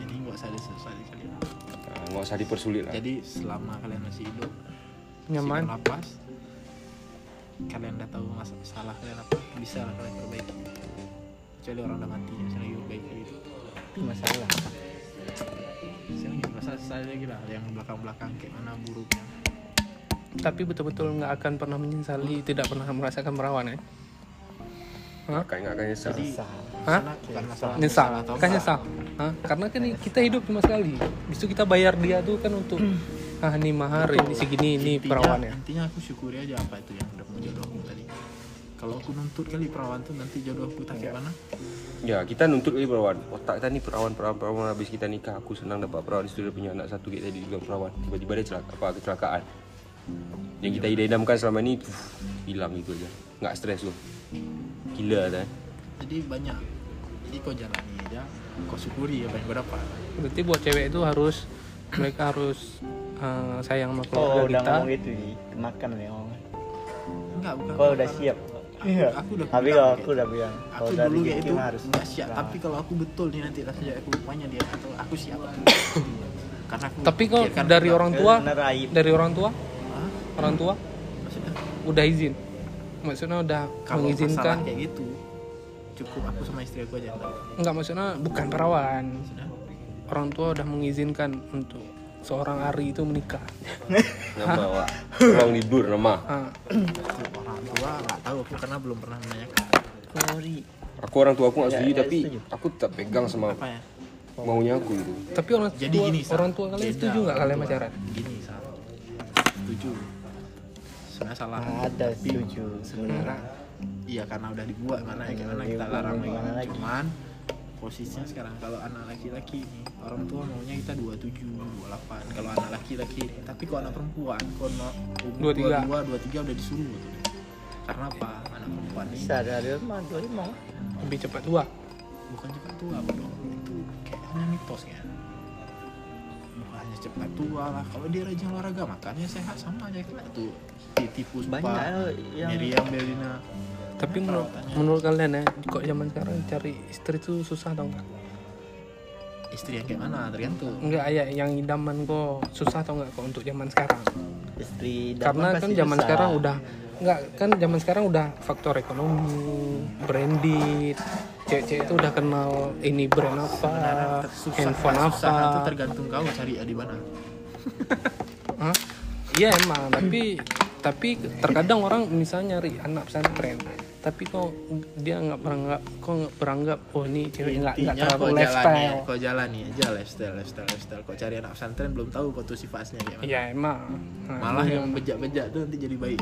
S3: jadi nggak usah disesali kalian
S1: Nah, Nggak usah dipersulit lah.
S3: jadi selama kalian masih hidup
S2: Nyaman.
S3: masih bernapas, kalian udah tahu mas- salah kalian apa bisa lah kalian perbaiki kecuali orang udah mati ya saya lagi perbaiki gitu
S4: Tapi masalah.
S3: saya lagi merasa saya lagi lah yang belakang belakang kayak mana buruknya
S2: Tapi betul-betul nggak akan pernah menyesali, tidak pernah merasakan perawan ya. Hah?
S1: Kayak nggak akan nyesal.
S2: kan Hah?
S3: Karena bukan masalah
S2: nyesal kan nyesal Hah? karena kan kita hidup cuma sekali habis itu kita bayar dia tuh kan untuk ah ini mahar ini segini ini ya."
S3: Intinya-
S2: perawannya
S3: intinya aku syukuri aja apa itu yang udah punya jodohku tadi kalau aku nuntut kali perawan tuh nanti jodohku tak kayak mana
S1: Ya kita nuntut lagi perawan Otak kita ni perawan perawan perawan Habis kita nikah Aku senang dapat perawan Di situ dia punya anak satu Kita tadi juga perawan Tiba-tiba dia celaka, apa, kecelakaan Yang kita idam-idamkan selama ni puf, Hilang gitu aja Nggak stres tu Gila eh. dah
S3: jadi banyak jadi kau jalani aja kau syukuri ya, apa yang kau dapat
S2: berarti buat cewek itu harus mereka harus eh, sayang
S3: Oh,
S2: sama keluarga
S4: Kau udah
S2: kita
S4: ngomong gitu di kemakan nih ngomong.
S3: enggak bukan
S4: Kau udah siap. Iya.
S3: Aku udah
S4: Tapi
S3: bilang
S4: kalau
S3: kayak
S4: aku udah bilang. Kau
S3: aku
S4: udah
S3: dulu kayak
S4: rezeki
S3: itu
S4: mah harus
S3: nggak siap
S4: Nah,
S3: tapi kalau aku betul nih nanti rasanya aku rupanya dia atau aku siap karena aku
S2: tapi kok
S3: pikirkan
S2: dari
S3: kita-
S2: orang tua
S4: bener aib.
S2: dari orang tua
S3: Hah?
S2: orang tua
S3: maksudnya
S2: udah izin maksudnya udah
S3: kalau masalah
S2: mengizinkan
S3: kayak gitu cukup aku sama istri aku aja yang tahu.
S2: nggak maksudnya bukan perawan
S3: Maksudnya,
S2: orang tua udah mengizinkan untuk seorang Ari itu menikah
S4: [LAUGHS]
S1: Nama awak Orang libur nama
S2: Ah,
S3: aku orang tua nggak tahu aku karena belum pernah menanyakan
S4: Sorry.
S1: Aku orang tua aku nggak setuju
S4: Ya, ya,
S1: Tapi
S4: setuju.
S1: aku tetap pegang sama
S3: apa ya
S1: Maunya aku gitu
S2: tapi orang
S3: jadi
S2: tua,
S3: gini Sa.
S2: orang tua kalian
S3: Beda
S2: setuju nggak
S3: orang
S2: kalian
S3: tua.
S2: pacaran
S3: gini Sa. setuju sebenarnya salah
S4: Ada setuju
S3: sebenarnya iya karena udah dibuat mana ya, gimana kita larang lagi
S4: Gimana lagi?
S3: cuman posisinya sekarang kalau anak laki-laki nih orang tua maunya kita 27 28 kalau anak laki-laki nih tapi kalau anak perempuan kalau anak umur
S2: 23.
S3: 22 23 udah disuruh tuh karena apa anak perempuan nih
S4: bisa dari rumah dulu mau
S2: lebih cepat tua
S3: bukan cepat tua bro itu kayaknya mitos ya bukannya cepat tua lah kalau dia rajin olahraga makannya sehat sama aja kena tuh titi puspa
S4: banyak ya, yang
S3: Miriam Belina
S2: tapi menurut menurut kalian ya kok zaman sekarang cari istri tuh susah atau enggak
S3: istri yang kayak mana tergantung
S2: enggak ya yang idaman kok susah atau enggak kok untuk zaman sekarang
S4: istri dan
S2: karena
S4: pasti
S2: kan zaman
S4: susah.
S2: sekarang udah enggak kan zaman sekarang udah faktor ekonomi branded cewek-cewek itu udah kenal ini brand apa handphone apa
S3: susah kan itu tergantung kau cari di mana
S2: Hah? Iya emang, tapi tapi terkadang orang misalnya nyari anak pesantren, tapi kok dia nggak beranggap, kok nggak beranggap, oh ini cewek nggak nggak
S3: intinya
S2: terlalu
S3: kau jalani
S2: lifestyle.
S3: kau jalani aja lifestyle lifestyle lifestyle kau cari anak pesantren belum tahu kau tuh sifatnya kayak mana
S2: Iya emang. Nah,
S3: malah
S2: iya.
S3: yang bejak-bejak tuh nanti jadi baik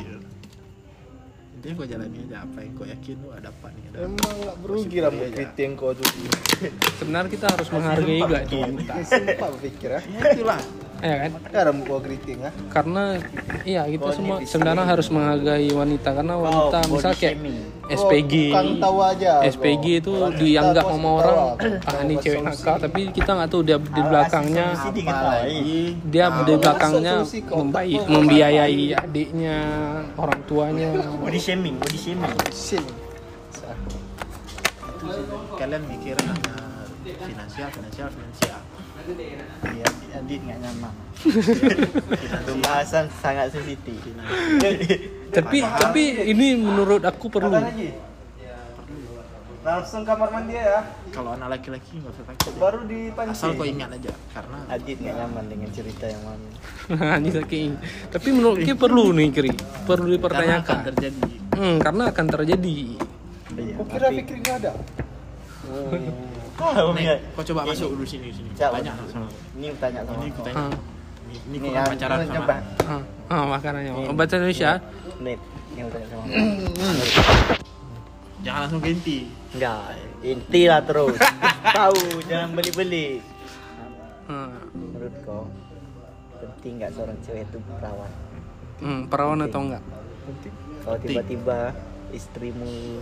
S3: intinya kau jalani aja apa yang kau yakin lu ada apa nih ada
S6: Emang nggak berugi lah buat yang kau cuci.
S2: sebenarnya kita harus menghargai juga komunitas,
S6: Sumpah berpikir ya.
S3: ya itulah
S2: ya kan?
S6: Karena mau kau keriting ya.
S2: Karena iya kita semua sebenarnya harus menghargai wanita karena
S6: Oh,
S2: wanita
S4: body
S2: misal kayak
S4: shaming.
S2: SPG.
S6: Kang tahu Oh, aja.
S2: SPG itu
S6: Orang kita
S2: dianggap
S6: kau
S2: sama
S6: suka
S2: orang
S6: tahu.
S2: ah ini cewek nakal tapi kita nggak tahu dia
S6: Ah,
S2: di belakangnya
S4: Sih diketahui.
S2: dia di belakangnya
S6: solusi kontak
S2: membaik
S6: kok.
S2: membiayai adiknya orang tuanya
S4: body shaming body shaming
S6: Sing.
S3: itu sih kalian mikir anak finansial finansial finansial
S4: iya adit nggak [LAUGHS] nyaman itu bahasan sangat sensitif
S2: tapi tapi ini menurut aku perlu
S6: Langsung kamar mandi ya.
S3: kalau anak laki-laki nggak usah takut ya.
S6: Baru
S3: asal kau
S6: dipancing.
S3: ingat aja karena
S4: adit nggak nyaman dengan cerita yang mana
S2: Nah, Ini saking. tapi menurut kita perlu nih kiri perlu
S3: karena akan
S2: dipertanyakan
S3: terjadi
S2: Hmm, karena akan terjadi
S4: iya
S6: Kau kira pikir nggak ada.
S2: Iya.
S4: oh,
S3: Nih, kau coba masuk dulu sini sini
S4: Cak,
S3: banyak sama
S4: ini tanya sama
S3: ini
S4: kau.
S3: aku tanya
S2: ah,
S3: Ini- ini
S4: Ini
S3: kurang
S4: yang
S3: pacaran
S4: ini
S3: sama
S4: coba.
S2: ah, ah, makanannya
S3: Iya.
S2: bahasa Indonesia
S4: Nih, ini yang tanya sama kau.
S3: jangan langsung ganti
S4: Enggak, inti lah terus.
S2: [LAUGHS]
S4: Tahu, jangan beli-beli.
S2: Ah,
S4: Menurut kau, penting nggak seorang cewek itu perawan?
S2: hmm, perawan atau enggak
S4: Kalau tiba-tiba istrimu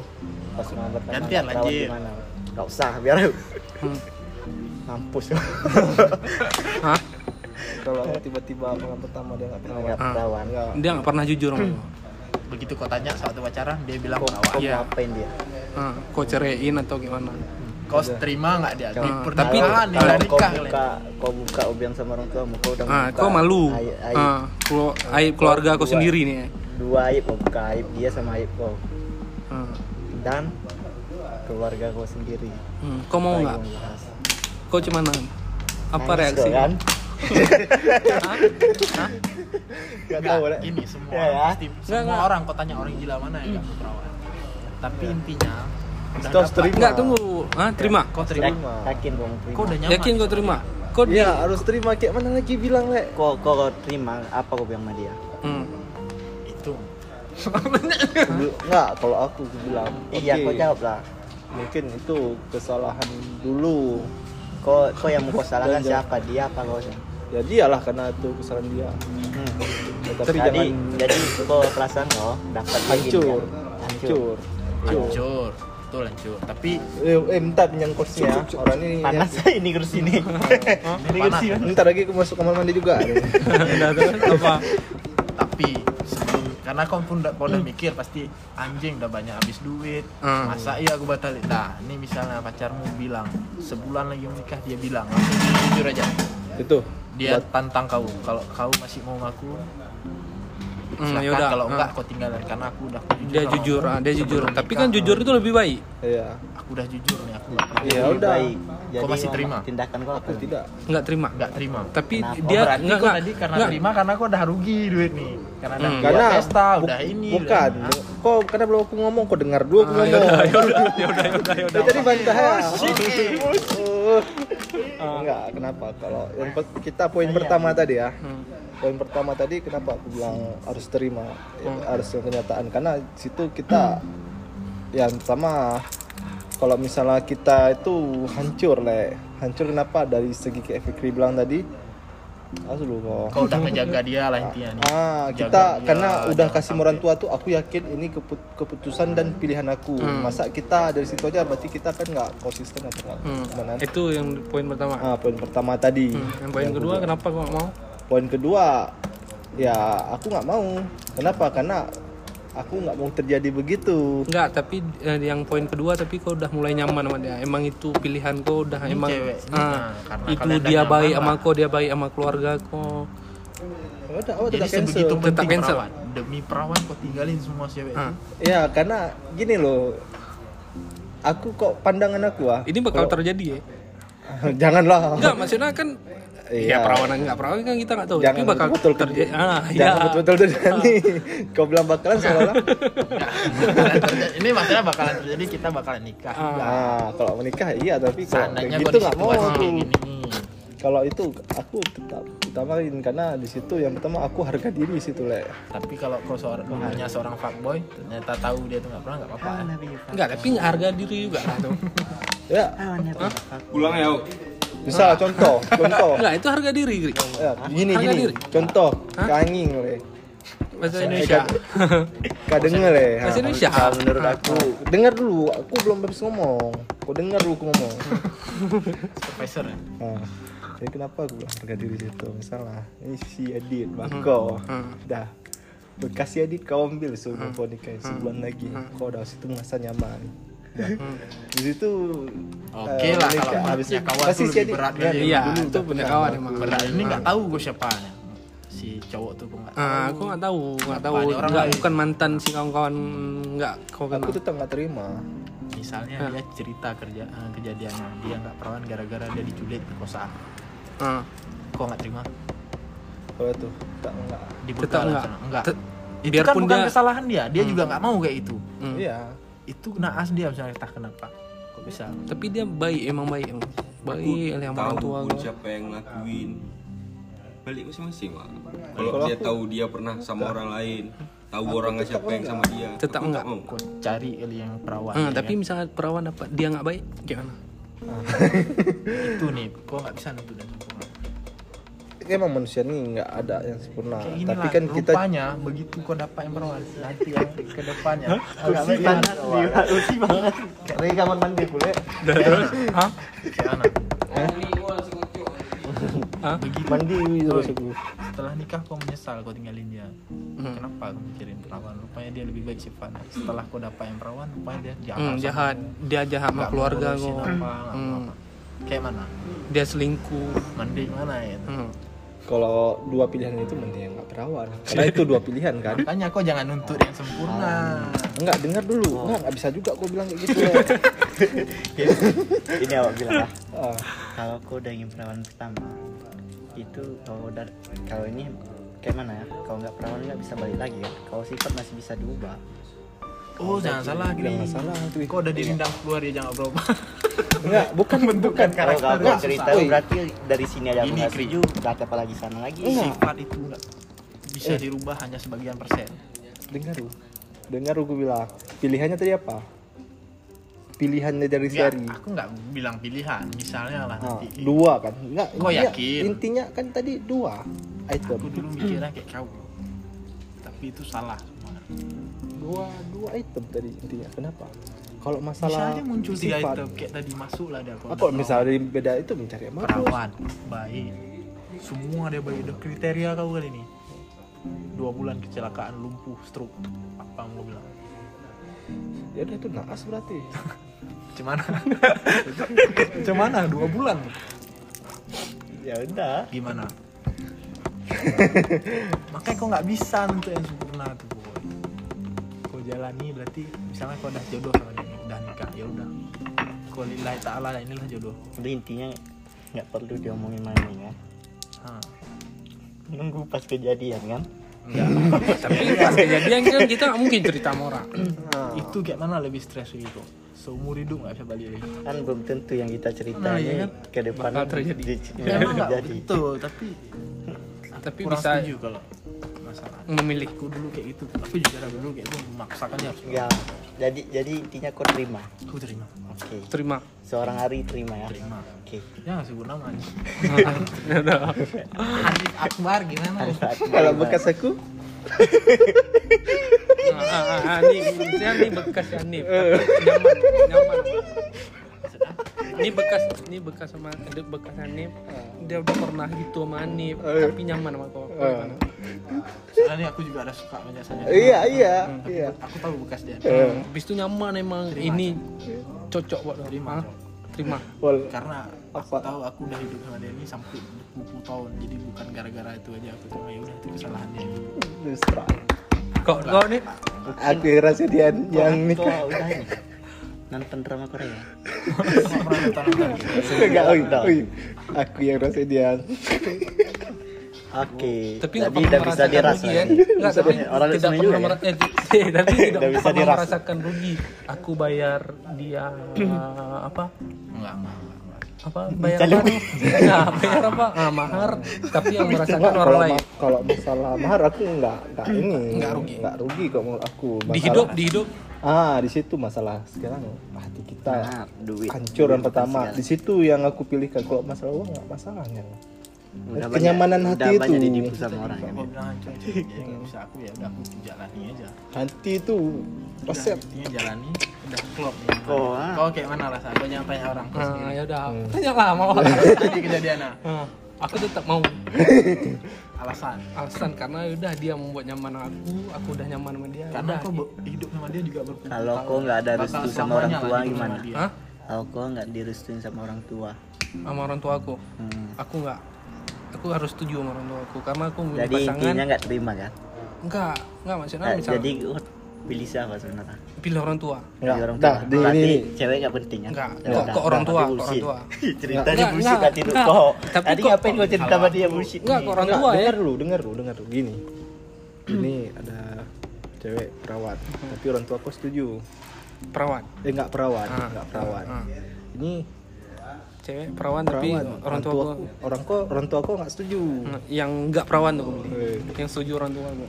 S4: pas mau berteman
S3: Gantian,
S4: perawan
S3: lanjut.
S4: gimana? Gak usah, biar aku.
S2: Hmm.
S4: Mampus.
S2: [LAUGHS] Hah?
S6: Kalau tiba-tiba abang pertama dia nggak pernah.
S4: Nggak
S2: Ah.
S4: perawan.
S6: Nggak.
S2: dia nggak pernah jujur sama gua.
S3: begitu kau tanya waktu pacaran dia bilang
S4: Kau,
S3: perawan
S4: kau
S2: Iya.
S4: ngapain dia?
S2: Ah, kau ceraiin atau gimana
S3: kau terima nggak dia
S2: Jangan.
S3: Pernikahan
S2: Tapi-
S3: nih, udah
S4: kau
S3: nikah kalian.
S4: buka, kau buka obeng sama orang tua, kau udah
S2: ah,
S4: buka
S2: kau malu
S4: aib- aib.
S2: ah, kelu- aib keluarga kau sendiri nih ya.
S4: Dua aib, kau buka aib dia sama aib kau.
S2: Ah,
S4: Dan keluarga kau sendiri.
S2: hmm, kau mau nggak
S4: Ayo, bahas.
S2: Kau cuman nangis. apa
S4: Nangis
S2: reaksi?
S4: kau,
S3: [LAUGHS]
S4: kan?
S2: Hah? Hah?
S4: Gak
S3: Enggak,
S4: tahu lah.
S3: ini semua
S4: Ya,
S3: orang
S4: ya.
S3: pasti semua
S2: Enggak, enggak.
S3: orang kau tanya orang gila mana
S2: Iya.
S3: yang nggak perawan tapi
S4: Iya.
S3: intinya udah
S6: Terus
S3: dapat.
S6: terima.
S2: Enggak tunggu. Hah, terima.
S3: kau terima
S4: Yak- Yakin kau mau terima?
S3: kau udah nyaman
S2: Yakin kau terima? Kau di
S6: Iya harus terima kayak mana lagi bilang lek.
S4: Kau, kau, kau terima apa kau bilang sama dia?
S2: Hmm.
S3: itu
S4: Dulu- Enggak, kalau aku aku bilang Iya,
S6: Oke.
S4: kau jawab lah
S6: Mungkin itu kesalahan dulu.
S4: Kau, kau yang mau kau salahkan
S6: Dan jawab.
S4: siapa? Dia apa kau?
S6: Ya dialah karena itu kesalahan dia.
S4: Hmm.
S6: Ya, tapi
S4: Jadi,
S6: jangan
S4: jadi kau perasaan kau dapat kan. lagi dia.
S6: hancur. Hancur. Hancur.
S3: hancur betul hancur tapi
S6: Eh, eh bentar nyangkut sini ya. Orang ini
S4: Panas ini kursi ini Ini
S3: Panas.
S4: kursi
S6: Bentar lagi aku masuk kamar mandi juga.
S2: Udah terus apa?
S3: tapi sebelum karena kau pun udah, kau udah mikir pasti anjing udah banyak habis duit
S2: Hmm.
S3: masa iya aku batalin nah ini misalnya pacarmu bilang sebulan lagi menikah dia bilang langsung jujur aja
S6: [LAUGHS] itu.
S3: dia tantang kau kalau kau masih mau ngaku
S2: Hmm,
S3: silakan
S2: yaudah.
S3: kalau enggak
S2: Hmm.
S3: kau tinggalin karena aku udah
S2: Dia jujur, ah, dia jujur.
S3: Sebelum
S2: Tapi
S3: nikah,
S2: kan jujur itu lebih baik.
S6: Iya.
S3: aku udah jujur nih aku nggak pernah
S6: [LAUGHS] Iya
S4: Lebih
S6: udah.
S4: baik. Jadi
S3: masih
S4: mau-
S3: terima?
S4: Tindakan kau apa?
S6: Tidak.
S2: Enggak terima.
S3: nggak terima
S2: Tapi
S4: Kenapa?
S2: dia
S3: berarti
S2: enggak
S3: kau
S2: enggak.
S3: tadi karena
S2: enggak.
S3: terima karena kau udah rugi duit nih karena udah
S2: Hmm.
S3: buat
S6: Karena
S3: pesta
S6: bu-
S3: udah ini udah
S6: Bukan.
S3: ini.
S6: Kau karena belum aku ngomong kau dengar dulu
S2: Ah,
S6: aku ngomong.
S2: yaudah, yaudah, yaudah, yaudah,
S6: Ya,
S2: yaudah.
S6: tadi bantah ya. Oh. Enggak, kenapa? Kalau yang per- kita poin pertama tadi ya.
S2: Hmm.
S6: Poin pertama tadi kenapa aku bilang harus terima
S2: Hmm.
S6: ya, harus yang kenyataan karena situ kita yang sama kalau misalnya kita itu hancur le hancur kenapa dari segi kayak Fikri bilang tadi Asu dulu kok
S3: Kau udah ngejaga dia lah intinya nih.
S6: ah
S3: Jaga
S6: kita
S3: dia,
S6: karena udah
S3: jangan
S6: kasih sama orang tua tuh aku yakin ini kepu- keputusan dan pilihan aku
S2: Hmm.
S6: masa kita dari situ aja berarti kita kan nggak konsisten atau nggak gimana?
S2: Hmm, itu yang poin pertama
S6: ah poin pertama tadi
S2: Hmm, yang poin kedua kan? kenapa kau nggak mau
S6: poin kedua ya aku nggak mau kenapa karena aku nggak mau terjadi begitu
S2: Enggak, tapi eh, yang poin kedua tapi kau udah mulai nyaman sama dia. Emang itu pilihan kau udah emang
S3: cewek.
S2: ah,
S3: Nah, karena
S2: itu
S3: kalian udah
S2: dia
S3: nyaman
S2: baik
S3: lah.
S2: sama kau, dia baik sama keluarga kau.
S6: Ya udah oh,
S3: Jadi
S6: tidak
S3: sebegitu
S6: cancel
S3: penting
S2: Tetap cancel.
S3: perawan. Demi perawan kau tinggalin semua cewek
S2: Ah.
S3: itu.
S6: ya karena gini loh aku kok pandangan aku ah
S2: Ini bakal terjadi ya?
S6: [LAUGHS] janganlah
S2: Enggak, maksudnya kan
S6: [LAUGHS]
S2: ya
S6: Iya.
S2: perawanan enggak perawanan kan kita nggak tahu.
S6: jangan
S2: tapi bakal
S6: betul
S3: kan.
S2: terjadi.
S6: [LAUGHS]
S2: Ah, iya.
S6: jangan betul betul
S2: [LAUGHS]
S6: terjadi kau bilang bakalan seolah-olah
S3: Bakalan terjadi- Ini masalah bakalan terjadi kita bakalan nikah.
S2: Ah.
S6: nah kalau menikah iya tapi kalau
S3: Seandainya kau
S6: kayak gitu
S3: di
S6: nggak mau
S3: situasi
S6: aku
S3: kayak gini.
S6: kalau itu aku tetap utamain karena di situ yang pertama aku harga diri di situ le
S3: Tapi kalau kau seorang kau hanya seorang fuckboy, ternyata tahu dia tuh nggak pernah nggak apa-apa. ya.
S2: Enggak, tapi nggak harga diri juga lah tuh.
S6: ya
S1: Pulang ya, Uk.
S6: bisa
S2: [LAUGHS]
S6: contoh
S3: Oh.
S6: contoh
S2: Enggak, itu harga diri. Gri.
S6: ya, gini
S2: Ah. Harga
S6: gini
S2: diri.
S6: contoh kanging le
S2: Bahasa
S3: Indonesia.
S6: kadenge le ha.
S2: Bahasa Indonesia. Ah.
S6: Kalau Ah, menurut aku dengar dulu aku belum habis ngomong kau dengar dulu aku ngomong
S3: Profesor
S2: Eh,
S3: ya.
S6: Nah, jadi kenapa aku bilang harga diri situ misalnya ini si Adit
S3: Hmm,
S6: bako dah bekas si Adit kau ambil
S3: Hmm.
S6: sebelum kau nikah sebulan lagi kau dah situ merasa nyaman Dah.
S3: Hmm.
S6: di situ
S3: Oke
S6: eh,
S3: lah
S6: menikah.
S3: kalau punya kawan
S6: pasti
S3: tuh
S6: si
S3: lebih
S6: Adit-
S3: berat
S6: Iya,
S3: dari
S2: [LAUGHS] Iya,
S3: dulu.
S2: itu punya kawan emang.
S3: Berat ini nggak tahu gue siapa ya. si cowok tuh gue nggak tahu.
S2: Ah, aku nggak tahu, nggak tahu.
S3: Apaan, orang
S2: Nggak,
S3: lain.
S2: bukan mantan si kawan-kawan nggak kau kenal.
S6: aku tetap nggak terima
S3: Misalnya
S2: Ah.
S3: dia cerita kerja eh, kejadiannya dia nggak perawan gara-gara dia diculik di kosan.
S2: Ah,
S3: Kok nggak terima?
S6: kalau tuh tak nggak
S3: Dibuka
S2: Tetap nggak.
S3: sana. Enggak.
S2: Tet-
S3: itu
S2: biarpun
S3: kan bukan
S2: dia-
S3: kesalahan dia. Dia juga nggak mau kayak itu.
S2: Hmm.
S6: iya
S3: Itu naas dia misalnya entah kenapa. Kok bisa?
S2: Tapi dia baik, emang baik, emang. baik oleh sama orang
S1: tahu
S2: tua.
S1: pun
S2: kau.
S1: siapa yang ngelakuin balik masing-masing Wak. kalau dia tahu dia pernah sama orang lain tahu orangnya siapa yang sama dia aku
S2: Tetap
S1: tak
S2: enggak.
S1: mau.
S3: Kok cari kali yang perawan.
S2: Ah,
S3: ya
S2: tapi
S3: kan?
S2: misalnya perawan dapat dia nggak baik, gimana?
S3: itu nih, kok nggak bisa nuntut dan sempurna.
S6: emang manusia ini nggak ada yang sempurna
S3: Kayak inilah,
S6: tapi kan kita
S3: rupanya begitu kau dapat yang perawan nanti yang ke depannya agak
S4: Kursi
S3: bagaimana
S4: panas dia, kursi banget. Kayak dari kamar mandi boleh.
S2: Hah?
S3: begitu
S6: mandi terus aku
S3: setelah nikah kau menyesal kau tinggalin dia kenapa kau mikirin perawan rupanya dia lebih baik sifatnya setelah kau dapat yang perawan rupanya dia jahat
S2: Hmm,
S3: sama-
S2: jahat, dia jahat sama
S3: nggak
S2: keluarga
S3: ngurusin
S2: kau.
S3: apa, nggak mau apa. kayak mana
S2: Dia selingkuh.
S3: mandi mana ya
S2: Hmm.
S6: kalau dua pilihan itu mending yang nggak perawan karena itu dua pilihan
S3: [LAUGHS]
S6: kan
S3: makanya kau jangan nuntut yang sempurna
S6: Enggak, dengar dulu.
S3: Oh.
S6: Enggak, enggak bisa juga kok bilang kayak
S3: [LAUGHS]
S6: gitu. ya.
S4: Ini awak bilang lah.
S6: Ah,
S4: Kalau aku udah ingin perawan pertama, itu kalau udah kalau ini kayak mana ya? Kalau nggak perawan nggak bisa balik lagi kan? Kalau sifat masih bisa diubah.
S3: oh jangan salah gini
S6: jangan salah tuh.
S3: kau udah dirindang keluar dia jangan berubah
S6: Enggak, bukan bentukan
S4: Oh, Kalau nggak
S6: Enggak,
S4: aku cerita
S6: woi.
S4: berarti dari sini aja aku
S3: Gini,
S4: nggak
S3: Kri.
S4: setuju. Berarti apa lagi sana lagi?
S6: Nah.
S3: sifat itu nggak bisa dirubah hanya sebagian persen
S6: Dengar lu. Dengar lu gue bilang. Pilihannya tadi apa? Pilihannya dari
S3: Nggak,
S6: seri.
S3: Iya, aku nggak bilang pilihan misalnya lah
S6: Ah,
S3: nanti
S6: dua kan? Enggak,
S3: Kau
S6: intinya-
S3: yakin?
S6: Intinya kan tadi dua item.
S3: aku dulu mikirnya kayak kau tapi itu salah semua
S6: Dua, dua item tadi intinya. Kenapa? Kalau
S3: bisa
S6: masalah
S3: aja muncul tiga
S6: sifat.
S3: item kayak tadi masuk lah dia aku
S6: Ah, Kalau misalnya dari beda itu mencari yang bagus.
S3: perawan baik semua dia baik udah kriteria kau kali ini dua bulan kecelakaan lumpuh stroke apa mau bilang
S6: Ya udah itu naas berarti.
S3: [LAUGHS] cuman cuman dua bulan
S4: Ya udah.
S3: gimana makanya kau nggak bisa untuk yang sempurna tuh boy kau jalani berarti misalnya kau udah jodoh sama dia nih, udah nikah ya udah kau lillahi ta'ala inilah jodoh
S4: Jadi intinya nggak perlu diomongin main ya.
S3: Hah.
S4: Nunggu pas kejadian kan?
S2: Tapi pas kejadian kan kita nggak mungkin cerita sama orang.
S3: itu kayak mana lebih stres gitu seumur hidup nggak bisa balik lagi
S4: Kan belum tentu yang kita cerita
S3: Nah, iya
S4: ini
S3: kan?
S4: ke depan
S2: Bakal terjadi.
S4: di-
S3: memang
S4: [LAUGHS]
S3: nggak
S4: terjadi.
S3: betul tapi
S2: Tapi
S3: kurang
S2: bisa
S3: setuju kalau masalah
S2: memilih.
S3: aku dulu kayak gitu aku juga dulu kayak gue memaksakan ya
S4: Enggak, jadi jadi intinya kau terima
S3: aku terima
S4: oke
S2: terima
S4: seorang hari terima ya
S3: terima
S4: oke
S3: jangan sebut nama [LAUGHS] Andi
S7: Akbar gimana?
S6: [LAUGHS] Kalau bekas aku
S2: Ah, ah, ah, ah, ini saya ini bekas ya ini nyaman nyaman ini bekas ini bekas sama ada bekas Hanif dia udah pernah gitu sama Hanif tapi nyaman sama kau Kau gimana?
S3: soalnya nih aku juga ada suka biasanya
S6: Eh, Iya iya iya
S3: aku tahu bekas dia
S2: habis itu nyaman emang ini cocok buat kau.
S3: Terima.
S2: Ah, terima
S6: Eh, Wal
S3: karena aku
S6: Apa?
S3: tahu aku udah hidup sama Denny sampai 20 tahun jadi bukan gara-gara itu aja aku cuma ya udah itu kesalahan dia
S6: Nusra
S2: kau kau nih
S6: Aku rasa dia yang nikah
S4: kau udah ini nonton drama Korea
S3: Aku pernah nonton nonton gitu.
S4: Iya,
S6: Enggak oi oi Aku yang rasa dia
S4: oke
S2: tapi nggak
S4: jadi
S2: pernah
S4: udah bisa
S2: merasakan rugi kan
S4: dirasain
S2: nggak tapi
S4: orang
S2: tidak
S4: ya. listener
S2: pernah
S4: juga
S2: mera- eh, eh, tapi tidak
S4: Nggak bisa
S2: pernah
S4: dirasa.
S2: merasakan rugi aku bayar dia eh, apa
S3: enggak enggak enggak, enggak.
S2: apa bayar apa? Nah, bayar apa? Ah, mahar tapi yang merasakan orang
S6: Enggak, kalau
S2: lain. Hmm,
S6: ma- kalau masalah mahar aku enggak enggak ini
S2: Enggak rugi.
S6: enggak rugi kok menurut aku
S2: Di
S6: Masalah-
S2: hidup, di hidup.
S6: ah di situ masalah sekarang hati kita
S4: Nah, duit
S6: hancur yang
S4: Duit
S6: pertama
S4: bukan
S6: di situ yang aku pilihkan kalau masalah uang nggak masalah ya
S4: segala. Udah
S6: kenyamanan
S4: banyak-
S6: hati
S4: udah banyak
S6: itu.
S4: ditipu sama orang kan
S3: Aku bilang hancur jadi nggak bisa aku ya udah aku jalani aja
S6: hati itu
S3: udah
S6: resep
S3: intinya jalani udah klop ya
S4: Oh, ah.
S3: kau kayak mana rasa kau jangan tanya orang kau
S2: Nah,
S3: sendiri
S2: ya udah. Tanya lah mau. [LAUGHS]
S3: jadi kejadian ah.
S2: Ah, aku tetap mau
S3: alasan
S2: alasan karena ya udah dia membuat nyaman aku, aku udah nyaman sama dia.
S3: karena
S2: udah.
S3: kau be- hidup sama dia juga berpuluh
S4: Kalau
S3: tahun.
S4: kau nggak ada
S3: Bakal
S4: restu sama
S3: selamanya
S4: orang
S3: lah hidup
S4: tua
S3: sama
S4: gimana?
S3: dia.
S2: Hah?
S4: kalau kau nggak direstuin sama orang tua
S2: Sama orang tua aku.
S4: Hmm.
S2: Aku enggak. Aku harus setuju sama orang tua aku karena aku memilih
S4: jadi
S2: pasangan.
S4: intinya nggak terima kan
S2: Enggak, enggak maksudnya
S6: Eh,
S4: Nah,
S2: misalnya
S4: jadi kau pilih siapa sebenarnya
S2: pilih orang tua.
S6: nggak
S4: Pilih orang
S6: dah
S4: tua.
S6: di ini
S4: Berarti
S6: ini.
S4: cewek nggak penting kan
S2: Enggak,
S4: Ya
S2: kok-
S4: udah,
S2: kok orang
S4: udah,
S2: tua, kok
S4: tapi
S2: orang
S4: bullshit. [LAUGHS]
S2: tua.
S4: ceritanya
S2: Enggak,
S4: bullshit
S2: enggak,
S4: hati lu
S2: enggak.
S4: kok
S2: Tapi
S4: tadi
S2: kok-
S4: ngapain kau cerita sama dia bullshit
S2: Enggak,
S4: nih?
S2: ke orang
S6: Nggak,
S2: tua ya. Hmm.
S6: dengar lu dengar lu dengar lu gini ini ada cewek perawat tapi orang tua aku setuju
S2: Perawan.
S6: eh nggak perawat
S2: Ah.
S6: nggak perawat
S2: Ah.
S6: ini
S2: Cewek perawan tapi
S6: perawat
S2: orang tua aku Nah,
S6: orang tua orang tua aku nggak setuju
S2: yang enggak perawan tuh aku pilih.
S6: Eh,
S2: Yang setuju orang tua aku.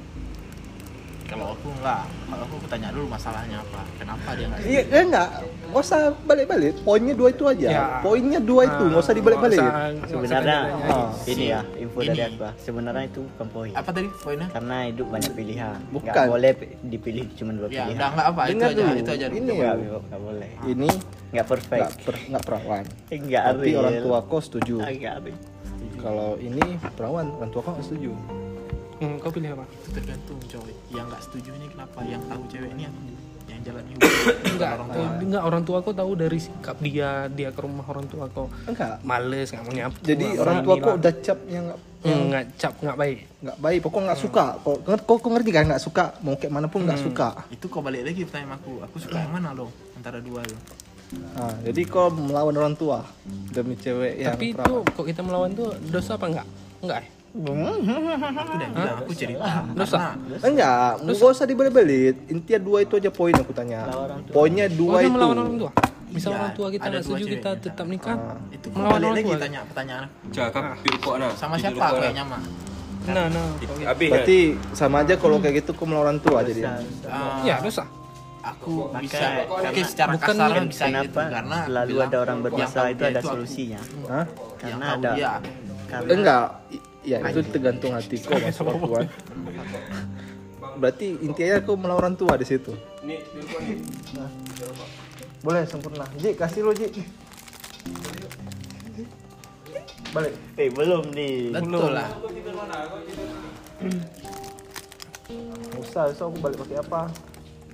S3: kalau aku nggak kalau aku, aku tanya dulu masalahnya apa kenapa dia nggak
S6: Iya, eh, enggak. Nggak usah balik-balik. Poinnya dua itu aja.
S2: Ya.
S6: Poinnya dua itu, nggak usah dibalik-balik.
S2: Ah, Nggak usah- nggak usah
S4: sebenarnya
S2: ditanya.
S6: Ah.
S4: ini ya info dari
S3: Ini.
S4: aku ah. sebenarnya itu bukan poin
S3: apa tadi poinnya
S4: karena hidup banyak pilihan
S6: Bukan.
S4: nggak boleh dipilih cuma
S3: ya
S4: dua pilihan
S3: udah nggak apa itu
S6: Dengar
S3: aja
S6: dulu.
S3: itu aja
S6: Ini
S4: nggak
S6: ya.
S4: nggak boleh
S6: Ini
S4: nggak perfect Eh,
S6: nggak per, nggak perawan.
S4: nggak
S6: Tapi
S4: real.
S6: orang tua kau setuju.
S4: Ah, nggak real.
S6: Kalau ini perawan, orang tua kau nggak setuju.
S2: Hmm, kau pilih apa?
S3: Itu tergantung coy yang nggak setuju ini kenapa yang tahu cewek ini aku yang jalan
S4: [COUGHS]
S3: hidup
S2: Enggak, orang tua. enggak orang tua kau tahu dari sikap dia, dia ke rumah orang tua kau
S6: Enggak.
S2: males nggak mau nyapu.
S6: Jadi
S2: nggak
S6: orang
S2: mau
S6: tua kau
S2: nyilang.
S6: udah cap yang nggak
S2: Hmm, nggak cap nggak baik.
S6: nggak baik. Pokoknya nggak suka.
S2: Hmm.
S6: Kau, kau, kau ngerti kan nggak suka. Mau kayak mana pun nggak suka.
S3: itu kau balik lagi pertanyaan aku aku suka yang mana lo antara dua lo
S6: Nah, jadi kau melawan orang tua demi cewek yang
S2: Tapi itu
S6: perawan.
S2: kok kita melawan tuh dosa apa enggak? Enggak. eh?
S3: aku udah bilang aku cerita
S2: Dosa.
S3: karena
S6: Enggak, nggak usah dibalik-balik. Intinya dua itu aja poin aku tanya. Poinnya
S2: Oh,
S6: dua
S2: dia
S6: itu.
S2: melawan orang tua. Misal
S3: Iya,
S2: orang tua kita
S3: ada
S2: nggak
S3: dua
S2: setuju kita
S3: ceweknya.
S2: tetap nikah.
S3: itu kau
S2: melawan
S3: balik
S2: orang
S3: lagi
S2: tua.
S3: tanya pertanyaan aku.
S1: Cakap pirukok nah.
S3: sama
S1: Jujur
S3: siapa
S1: kok,
S3: aku
S1: nah.
S3: yang nyaman
S2: Nah, nah.
S1: Habis. kan?
S6: Berarti sama aja kalau kayak gitu kau melawan orang tua jadi.
S3: Ah,
S2: Ya,
S4: Iya.
S2: dosa.
S3: aku
S4: Makanya,
S3: bisa oke
S4: karena-
S3: secara
S2: Bukan
S3: kasar
S2: lah.
S3: bisa gitu
S4: kenapa
S3: karena
S4: selalu
S3: bilang,
S4: ada orang
S3: yang
S4: bermasalah
S3: tahu
S4: itu
S3: dia
S4: ada
S3: aku.
S4: solusinya
S6: Hah?
S3: yang
S4: karena
S3: tahu
S4: ada
S3: dia
S4: karena
S6: Enggak, i- ya itu tergantung hati [LAUGHS] kau mas Tuhan. Berarti intinya kau melawan orang tua di situ. Nah. Boleh sempurna. Ji, kasih lo Ji. Balik.
S4: eh belum nih
S3: betul lah
S6: Nggak usah, so aku balik pakai apa?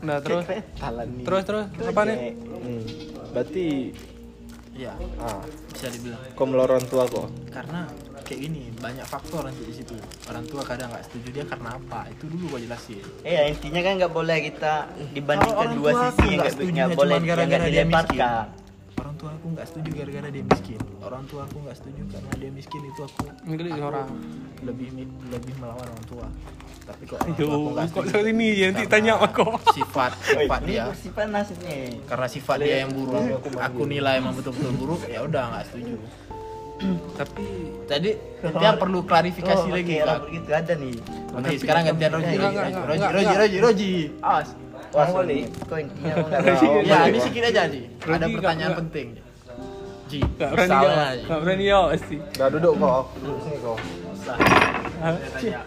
S2: Nah, terus
S4: talan nih
S2: terus terus apa nih?
S4: Kayak
S6: Hmm. Berarti
S3: ya
S6: ah,
S3: bisa dibilang
S6: kau melawan orang tua kok.
S3: karena kayak gini banyak faktor nanti di situ orang tua kadang nggak setuju dia karena apa itu dulu gua jelasin
S4: Eh, ya, intinya kan nggak boleh kita dibandingkan
S3: Kalau orang
S4: dua
S3: tua aku
S4: sisi yang
S3: nggak
S4: nggak
S3: setuju
S4: nggak
S3: dia
S4: boleh
S3: cuman
S4: yang nggak
S3: gara-gara dia
S4: dilemparkan.
S3: orang tua aku nggak setuju gara-gara dia miskin orang tua aku nggak setuju karena dia miskin itu aku
S2: Milih orang.
S3: lebih lebih melawan orang tua tapi kok orang tua aku
S2: Yo,
S3: nggak
S2: kok
S3: setuju
S2: soal ini nanti tanya sama kau.
S3: sifat sifat
S4: Ini
S3: dia
S4: masih panas nih.
S3: karena sifat dia yang buruk aku nilai emang betul-betul buruk ya udah nggak setuju
S2: [CLEARS THROAT] Tapi
S3: jadi dia perlu klarifikasi
S4: Oh,
S3: lagi
S4: oke,
S3: Kak.
S4: rambut gitu ada nih. Iya,
S3: Oke, sekarang gantian Roji
S2: Enggak,
S3: Roji
S2: enggak,
S3: Roji
S2: enggak,
S3: Roji
S2: enggak.
S3: Roji Roji Awas
S4: Wah, sulit. Kok intinya mau nggak mau.
S3: Iya,
S8: ya ini sedikit aja sih ada
S2: Rugi
S8: pertanyaan
S2: nggak-
S8: penting Ji
S2: Gak berani jawab,
S8: misalnya Ji,
S2: gak berani jawab pasti.
S6: Udah duduk kok, duduk sini kok.
S2: Ha?
S8: saya tanya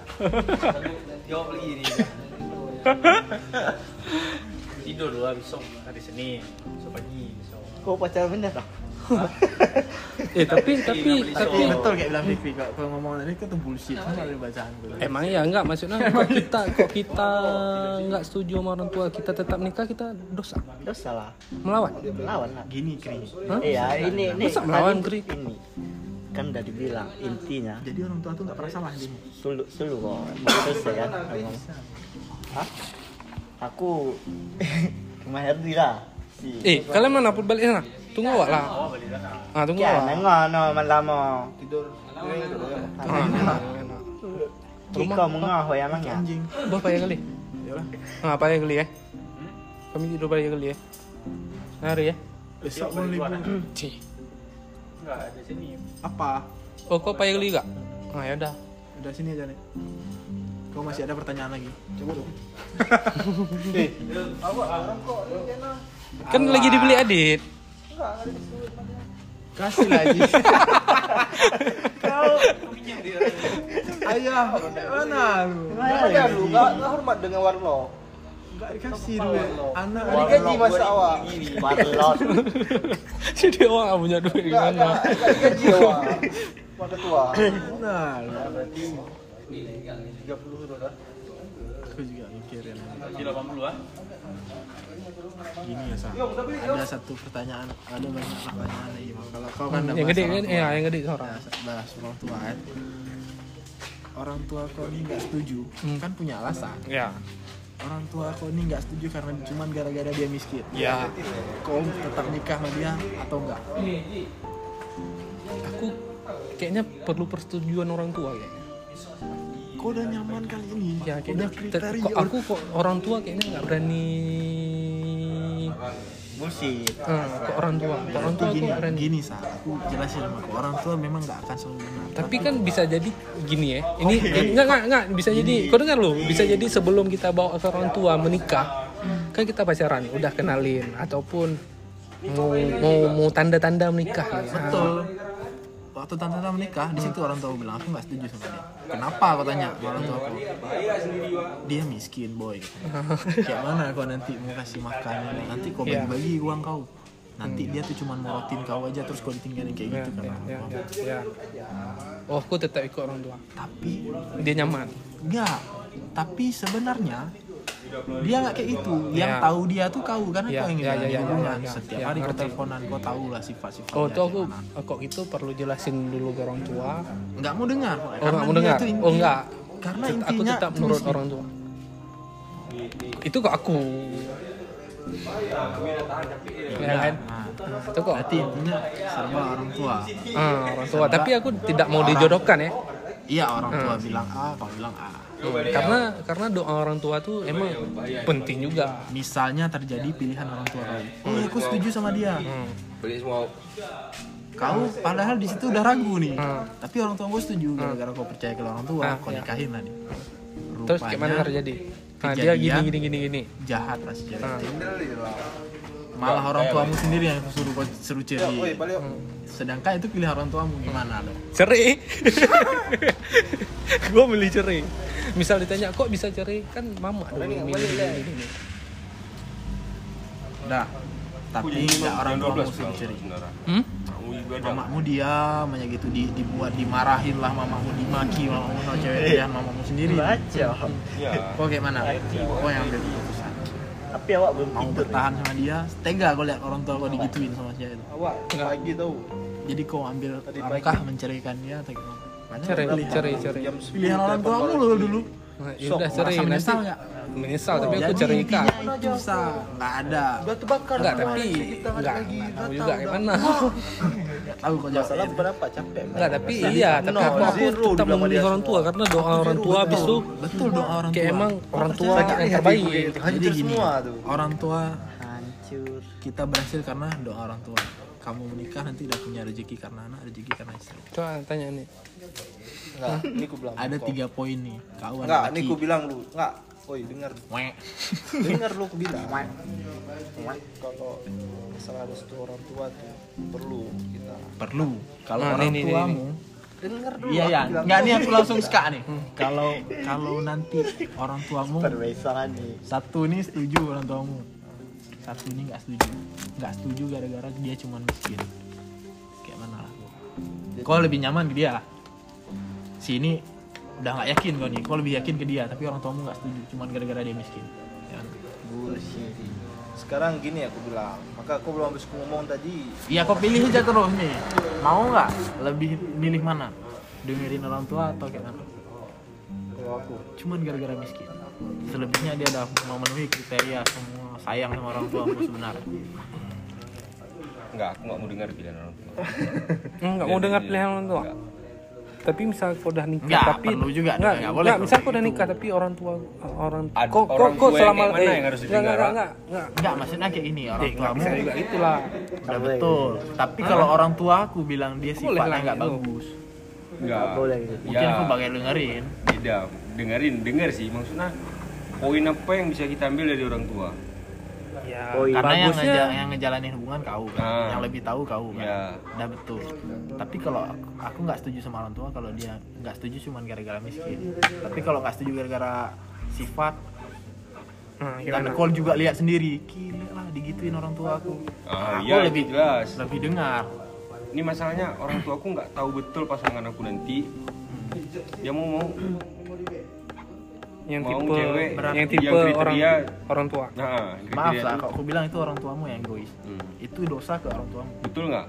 S8: jawab lagi ini tidur lah besok hari Senin besok pagi besok
S4: Kok pacaran bener tak?
S2: Eh tapi tapi tapi
S8: betul kayak bilang Fikri kok kalau ngomong tadi itu tuh bullshit sama dari bacaan gue
S2: emang ya enggak maksudnya kok kita kok kita enggak setuju sama orang tua kita tetap nikah kita dosa
S4: Dosa lah.
S2: melawan.
S4: Melawan lah.
S3: Gini Kri.
S2: Hah?
S4: Iya, ini ini.
S2: Masa melawan, Kri?
S4: tadi Ini kan udah dibilang intinya
S3: Jadi orang tua tuh nggak pernah salah dia.
S4: sulu sulu kok mau selesai kan ngomong. Hah? Aku [LAUGHS] cuma Herdi lah. Si.
S2: Eh kalian mana pun balik sana? Tunggu awak lah. Ah tunggu
S4: Ya,
S2: awak.
S4: nengok no malamo.
S2: Ah, enak, enak.
S4: Kiko mengoh ya mangnya.
S2: Bawa payah kali. Ah payah kali ya. Kami tidur payah kali ya. Hari ya.
S3: Besok mau libur.
S2: Cih.
S3: Apa?
S2: Oh kok payah kali enggak? Ah ya udah.
S3: Udah sini aja nih. Kau masih ada pertanyaan lagi? Coba dong.
S2: Kan lagi dibeli [LAUGHS] Adit.
S3: Kasih lagi. Kau Ayah, mana lu?
S6: Ada lu, nggak nggak hormat dengan warna.
S3: Enggak dikasih duit. Anak
S6: Digaji masa awak.
S4: [LAUGHS] Barlot.
S2: Jadi orang nggak punya duit
S6: Nggak
S2: gimana?
S6: nggak nggak digaji awak. Pak ketua.
S3: Nah, berarti 30 dolar. Aku juga mikirin. 80 ah. Gini ya, Sa. Ada satu pertanyaan, ada banyak pertanyaan lagi. Bang. Kalau kau kan
S2: Yang gede kan?
S3: ya.
S2: Iya yang gede seorang.
S3: Bahas orang tua kan. Orang tua kau ini nggak setuju, kan punya alasan.
S2: Ya.
S3: Orang tua kau ini nggak setuju karena cuman gara-gara dia miskin.
S2: Ya.
S3: Kau tetap nikah sama dia atau enggak?
S2: Aku kayaknya perlu persetujuan orang tua kayaknya.
S3: Kau udah nyaman kali ini.
S2: Ya kayaknya
S3: udah
S2: te-
S3: kriteria.
S2: kok aku kok orang tua kayaknya nggak berani.
S4: Bullshit.
S2: Eh, kok orang tua, kok orang
S3: Aku
S2: tua
S3: gini,
S2: kok berani.
S3: gini sa, aku jelasin sama aku. Orang tua memang nggak akan selalu benar.
S2: Tapi kan bisa jadi gini ya. Ini
S3: Oh, iya.
S2: ini- nggak nggak nggak bisa jadi. Kau dengar loh, bisa jadi sebelum kita bawa ke orang tua menikah,
S3: Hmm.
S2: kan kita pacaran, udah kenalin ataupun mau mau mau tanda-tanda menikah. ya.
S3: Iya, Betul. Waktu tante tante menikah, di situ orang tua bilang aku nggak setuju sama dia. Kenapa aku tanya sama orang tua aku? Dia miskin boy. Kayak mana kau nanti mau kasih makan? Nanti kau
S2: Iya.
S3: bagi-bagi uang kau. Nanti dia tuh cuman morotin kau aja terus kau ditinggalin kayak gitu kan.
S2: Ya, ya, ya, ya. Oh, aku tetap ikut orang tua.
S3: Tapi
S2: Dia nyaman.
S3: Enggak, tapi sebenarnya dia nggak kayak gitu. Yang
S2: Ya.
S3: tahu dia tuh kau karena
S2: Ya,
S3: kau yang
S2: ya,
S3: ngejalanin
S2: ya, ya,
S3: hubungan.
S2: ya, ya,
S3: Setiap
S2: ya,
S3: hari kau
S2: ngerti.
S3: teleponan, kau tahu lah sifat-sifat.
S2: Oh,
S3: dia
S2: tuh aku
S3: gimana.
S2: kok itu perlu jelasin dulu ke orang tua.
S3: nggak mau dengar. Pak.
S2: Oh,
S3: Karena
S2: nggak mau
S3: dia
S2: dengar. Oh,
S3: tuh inti-
S2: enggak.
S3: Karena
S2: Tet- aku
S3: intinya gitu.
S2: tetap
S3: tuh
S2: nurut
S3: miskin.
S2: orang ya tua. Itu kok aku.
S3: Iya.
S2: Ya kan?
S3: Nah,
S2: Itu kok.
S3: berarti intinya serba orang tua.
S2: Ah, orang tua. Tapi aku tidak mau dijodohkan ya.
S3: Iya orang tua
S2: Hmm.
S3: bilang A, kau bilang A.
S2: Karena karena doa orang tua tuh emang penting juga.
S3: Misalnya terjadi pilihan orang tua kau. Oh, aku setuju sama dia.
S1: Beli Nah, semua
S2: Iya,
S3: Kau padahal di situ udah ragu nih. Tapi orang tua gue setuju gara-gara kau percaya ke orang tua,
S2: Ah,
S3: kau
S2: iya.
S3: nikahin lah nih. Rupanya
S2: Terus gimana terjadi? Nah, dia gini
S3: kejadian.
S2: gini gini gini.
S3: jahat lah sejarah
S2: Ah.
S3: itu. Malah orang tuamu sendiri yang suruh kau seru ceri.
S2: Hmm.
S3: Sedangkan itu pilihan orang tuamu gimana dong?
S2: cerai [LAUGHS] gue beli cerai misal ditanya kok bisa cerai kan mama dulu milih ini, ini, ini.
S3: Dah. Tapi nggak orang tuamu suruh ceri.
S1: Ya.
S2: Hmm?
S3: Mamamu diam aja gitu di, dibuat dimarahin lah mamamu dimaki mamamu sama cewek pilihan mamamu sendiri.
S4: Baca.
S3: Kau kayak mana? Kau yang ambil keputusan.
S4: Tapi awak belum
S3: mau
S4: tidur.
S3: bertahan sama dia tega kau lihat orang tua kau digituin sama dia itu
S6: Awak pagi tau.
S3: jadi kau ambil langkah menceraikan dia atau gimana Banyak
S2: cerai
S3: pilihan.
S2: cerai cerai
S6: Jam 10
S3: pilihan orang tua
S6: telepon
S3: kamu lo dulu
S2: nah, ya udah
S3: Sok,
S2: cerai nanti
S3: merasa menyesal nggak?
S2: menyesal tapi aku
S3: jadi
S2: cerai
S3: intinya
S2: kak
S3: itu bisa nggak ada
S6: Udah terbakar.
S2: enggak
S6: semua.
S2: tapi
S6: Kita nggak
S2: enggak
S6: lagi
S2: enggak tahu
S6: datang,
S2: juga
S6: udah.
S2: gimana
S3: nggak tahu kau jawab
S6: Masalah berapa capek? Bang.
S2: enggak tapi iya tapi aku aku
S6: zero
S2: tetap
S6: dibilang
S2: memilih
S6: dia
S2: orang tua karena doa orang tua habis itu
S3: betul doa orang tua
S2: kayak emang orang tua Iya,
S6: Sakit
S2: yang
S6: hati
S2: terbaik
S6: gue kayak gitu. Hancur
S3: gini,
S6: semua tuh.
S3: orang tua
S4: Hancur.
S3: kita berhasil karena doa orang tua kamu menikah nanti udah punya rezeki karena anak rezeki karena istri
S2: Coba Gitu, ah, tanya nih.
S6: Enggak, ini ku bilang.
S3: ada tiga poin nih kau
S6: Enggak,
S3: anak
S6: ini
S3: laki
S6: ku bilang lu. Enggak. Oi, dengar.
S3: Wek.
S6: Dengar lu ku bilang. Kalau masalah restu orang tua tuh perlu kita.
S3: perlu kalau
S2: Nah,
S3: orang
S2: nih, nih,
S3: tuamu
S6: Dengar dulu.
S3: Iya ya,
S6: aku bilang
S3: nggak
S6: dulu.
S3: nih aku langsung ska nih.
S2: Hmm.
S3: Kalau kalau nanti orang tuamu
S4: Perbesaran nih
S3: satu nih setuju orang tuamu, satu nih nggak setuju, nggak setuju gara-gara dia cuman miskin. Kayak mana lah? Kau lebih nyaman ke dia lah. Si ini udah nggak yakin kau nih, kau lebih yakin ke dia, tapi orang tuamu nggak setuju, cuman gara-gara dia miskin. Ya kan?
S6: Bullshit. Sekarang gini aku bilang. Maka aku belum habis ngomong tadi.
S3: Iya kau pilih aja terus nih. Mau nggak? Lebih milih mana? Dengerin orang tua atau kayak mana?
S6: Kalau aku
S3: cuman gara-gara miskin selebihnya dia udah memenuhi kriteria semua sayang sama orang tua sebenarnya
S1: Enggak, aku nggak mau dengar pilihan orang tua.
S2: Enggak
S1: Iya,
S2: mau dengar pilihan orang tua.
S1: Enggak.
S2: Tapi misal kau udah nikah
S3: Enggak,
S2: tapi
S3: perlu juga,
S2: Enggak, enggak
S3: enggak boleh
S2: Enggak,
S3: kalau
S2: misal kau
S3: kayak
S2: udah
S3: gitu.
S2: nikah tapi orang tua orang
S1: Ad-
S2: kau kau
S1: orang
S2: kau
S1: tua yang
S2: selama eh,
S1: kayak mana yang harus
S2: enggak, enggak,
S1: didengar,
S2: enggak, enggak.
S3: enggak maksudnya kayak ini orang
S2: Enggak
S3: tuamu
S2: bisa juga itulah.
S3: udah betul tapi kalau orang tua aku bilang dia
S2: Ah. Boleh lah
S3: sifatnya nggak
S2: gitu.
S3: bagus
S1: Enggak.
S4: boleh gitu.
S3: mungkin
S1: Ya.
S3: aku bakal dengerin
S1: Beda. Dengerin, denger sih maksudnya poin apa yang bisa kita ambil dari orang tua?
S2: Ya,
S4: Poin.
S3: karena yang,
S2: bagusnya
S3: ngeja- yang ngejalanin hubungan kau kan
S1: Ah.
S3: yang lebih tahu kau kan
S1: Ya.
S3: udah betul tapi kalau aku- aku nggak setuju sama orang tua kalau dia nggak setuju cuman gara-gara miskin tapi kalau nggak setuju gara-gara sifat
S2: Nah,
S3: dan
S2: gimana?
S3: call juga lihat sendiri gila lah digituin orang tua aku
S1: Ah,
S3: aku
S1: iya,
S3: lebih
S1: lebih jelas.
S3: lebih dengar
S1: Ini masalahnya orang tua aku nggak tahu betul pasangan aku nanti. Dia mau mau
S2: yang
S1: mau
S2: tipe
S1: cewek
S2: yang
S1: yang
S2: tipe
S1: kriteria-
S2: orang orang tua.
S1: nah,
S3: maaf
S1: kriteria
S3: lah
S1: itu-
S3: kalau aku bilang itu orang tuamu yang egois
S1: Hmm.
S3: itu dosa ke orang tuamu
S1: Betul nggak?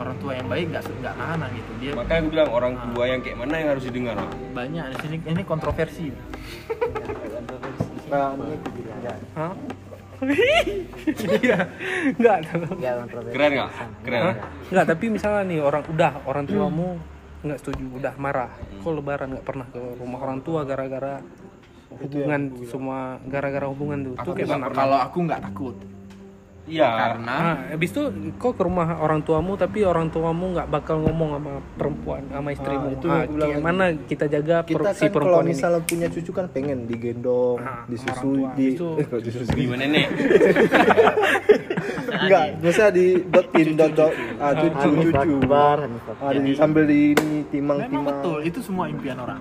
S3: orang tua yang baik nggak nggak nahan gitu dia
S1: Makanya aku bilang orang tua yang kayak mana yang harus didengar. Bang?
S3: banyak di sini ini kontroversi
S6: nah, ini aku bilang.
S2: Hah? [LAUGHS] Iya. Enggak.
S4: Enggak orang terlalu
S1: Keren nggak? Keren.
S2: Hah? Enggak, tapi misalnya nih orang udah orang
S6: Hmm.
S2: tuamu nggak setuju, udah marah. Kok lebaran nggak pernah ke rumah orang tua gara-gara hubungan semua gara-gara hubungan tuh. Itu kayak mana?
S3: kalau aku nggak takut
S1: Iya.
S3: karena
S2: Nah, habis itu kok ke rumah orang tuamu tapi orang tuamu nggak bakal ngomong sama perempuan sama istrimu.
S6: Ah, itu
S2: Ah,
S6: yang aku bilang
S2: gimana kita jaga per-
S6: kita
S2: si
S6: kan kalau
S2: perempuan ini?
S6: misalnya punya cucu kan pengen digendong,
S2: Ah,
S6: disusui,
S2: orang tua.
S6: di
S2: Itu.
S6: eh, kok disusui
S1: Gimana nih?
S6: [LAUGHS] enggak, biasa di dotin dot dot ah, cucu
S4: Hanif
S6: cucu
S4: Akbar, Hanif
S6: ah,
S4: Akbar.
S6: di, sambil di ini timang
S3: memang
S6: timang
S3: betul itu semua impian orang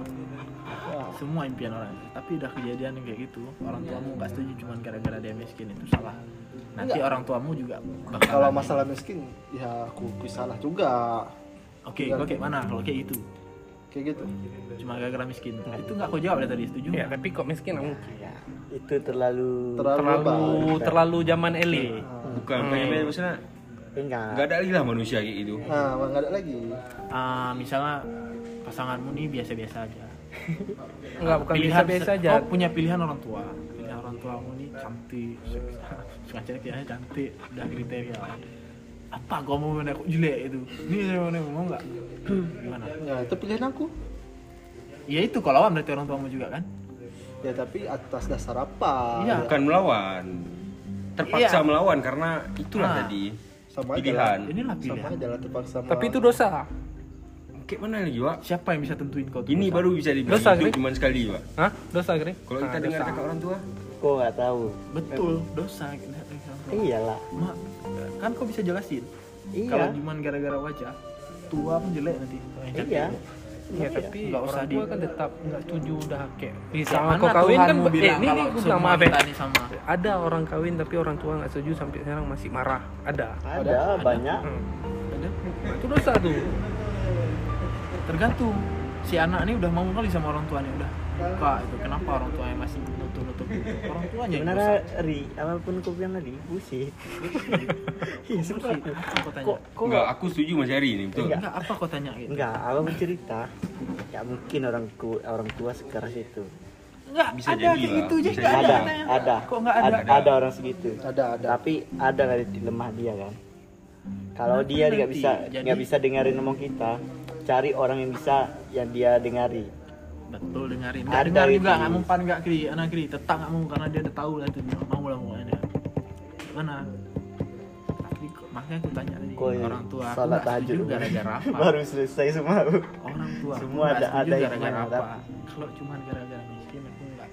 S3: semua impian orang tapi udah kejadian yang kayak gitu orang tuamu nggak setuju cuman gara-gara dia miskin itu salah nanti orang tuamu juga bakal
S6: kalau masalah miskin ya aku aku salah juga
S3: oke gua kayak mana kalau kayak gitu
S6: kayak gitu
S3: cuma gara-gara miskin itu nggak kau jawab dari tadi setuju
S2: Ya, tapi kok miskin nggak mungkin.
S6: Iya.
S4: Itu terlalu
S6: terlalu,
S2: Terlalu
S6: lebay.
S2: terlalu zaman elit.
S1: Bukan. Pengen maksudnya
S4: enggak
S1: nggak ada lagi lah manusia kayak gitu.
S6: nah nggak ada lagi
S3: Ah, misalnya pasanganmu nih biasa-biasa aja
S2: Enggak, bukan
S3: Pilihan-
S2: biasa-biasa aja.
S6: Oh.
S3: kau punya pilihan orang tua pilihan orang tuamu nih cantik suka cewek pilihannya cantik udah kriteria apa gua mau mana kok jelek itu ini mau mana mau nggak gimana
S6: ya itu pilihan aku
S3: ya itu kau lawan berarti orang tuamu juga kan
S6: ya tapi atas dasar apa Ya,
S3: Iya.
S1: Bukan melawan. Terpaksa
S3: Iya.
S1: melawan karena itulah
S3: Ah.
S1: tadi.
S6: sama aja lah
S1: Pilihan.
S3: inilah
S6: sama
S3: pilihan
S6: aja lah terpaksa
S2: Tapi
S6: melawan.
S2: itu dosa.
S1: Kayak mana lagi, Wak?
S3: siapa yang bisa tentuin kau tuh
S1: Ini
S3: dosa?
S1: baru bisa dibilang
S2: Dosa,
S1: hidup
S2: Gri.
S1: cuma sekali, Pak.
S2: Hah? Dosa, Gre?
S1: Kalau kita dengar kata orang tua,
S4: kok enggak tahu.
S3: betul dosa kita- kita- kita-
S4: Iyalah.
S3: Mak, kan kau bisa jelasin
S4: Iya.
S3: kalau cuman gara-gara wajah tua pun jelek nanti Eh, cantik.
S4: Iya.
S2: Ya, tapi
S3: Nggak
S2: orang tua
S3: usah di-
S2: kan tetap nggak setuju udah kayak
S3: Kayak
S2: bisa sama
S3: ya. mana
S2: kau kawin kan
S3: Tuhanmu
S2: eh, ini nih
S3: bilang kalau
S2: gua bilang
S3: semua
S2: maaf ya.
S3: kita ini sama
S2: Ada orang kawin tapi orang tua nggak setuju sampai sekarang masih marah. Ada.
S4: Ada banyak.
S2: Hmm.
S3: Ada.
S2: Itu dosa tuh.
S3: tergantung si anak ini udah mau kali sama orang tuanya udah buka itu kenapa orang tuanya masih nutup nutup orang tuanya yang
S4: Sebenarnya
S3: dosa.
S4: Ri, apapun kau bilang tadi, bullshit.
S3: Iya, sebenarnya. apa kau tanya
S4: Kok kok
S1: enggak, aku setuju Mas Heri ini, betul.
S4: Enggak.
S3: enggak apa kau tanya gitu
S4: Enggak, aku bercerita. Ya mungkin orang ku, orang tua sekeras itu.
S3: enggak
S1: Bisa
S3: ada
S1: jadi
S3: kayak
S1: lah,
S3: gitu aja
S1: bisa
S3: enggak
S1: jadi.
S3: ada
S4: Ada,
S3: katanya.
S4: ada.
S3: kok enggak ada
S4: Ada, ada orang segitu.
S6: ada ada
S4: Tapi ada kali di lemah dia kan. Kalau dia nggak
S3: nanti?
S4: bisa
S3: Jadi-
S4: nggak bisa dengerin ngomong kita, cari orang yang bisa yang dia dengari.
S3: betul dengarin enggak
S4: Ada
S3: dengar
S4: itu.
S3: juga enggak mempan enggak kiri anak kiri tetap enggak mau karena dia udah tahu lah itu dia nggak mau lah pokoknya dia. mana makanya aku tanya tadi
S4: Koi,
S3: orang tua aku
S4: salat
S3: nggak setuju
S4: tahajud.
S3: gara-gara [LAUGHS] apa
S4: baru selesai semua aku.
S3: orang tua aku
S4: Semua
S3: nggak
S4: ada-
S3: setuju
S4: ada yang
S3: gara-gara
S4: ada.
S3: apa kalau cuma gara-gara miskin aku nggak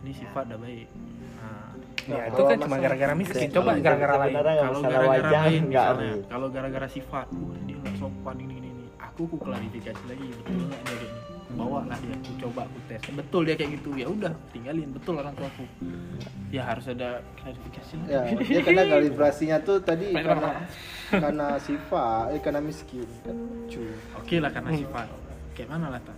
S3: ini sifat udah baik Nah,
S2: Ya, itu kan cuma gara-gara miskin. Coba
S4: Iya,
S2: gara-gara lain.
S4: Sebenarnya
S3: kalau
S4: nggak Ya, masalah
S3: gara-gara
S4: wajah
S3: baik
S4: nggak
S3: misalnya kalau gara-gara sifat "Wah, dia nggak sopan ini ini ini aku ku klarifikasi lagi betul nggak dia kayak gini bawa lah dia aku coba aku tes betul dia kayak gitu ya udah tinggalin betul orang tuaku ya harus ada klarifikasi lah
S6: ya dia karena kalibrasinya tuh tadi karena karena sifat eh karena miskin kan cuy
S3: oke lah karena sifat kayak mana lah tak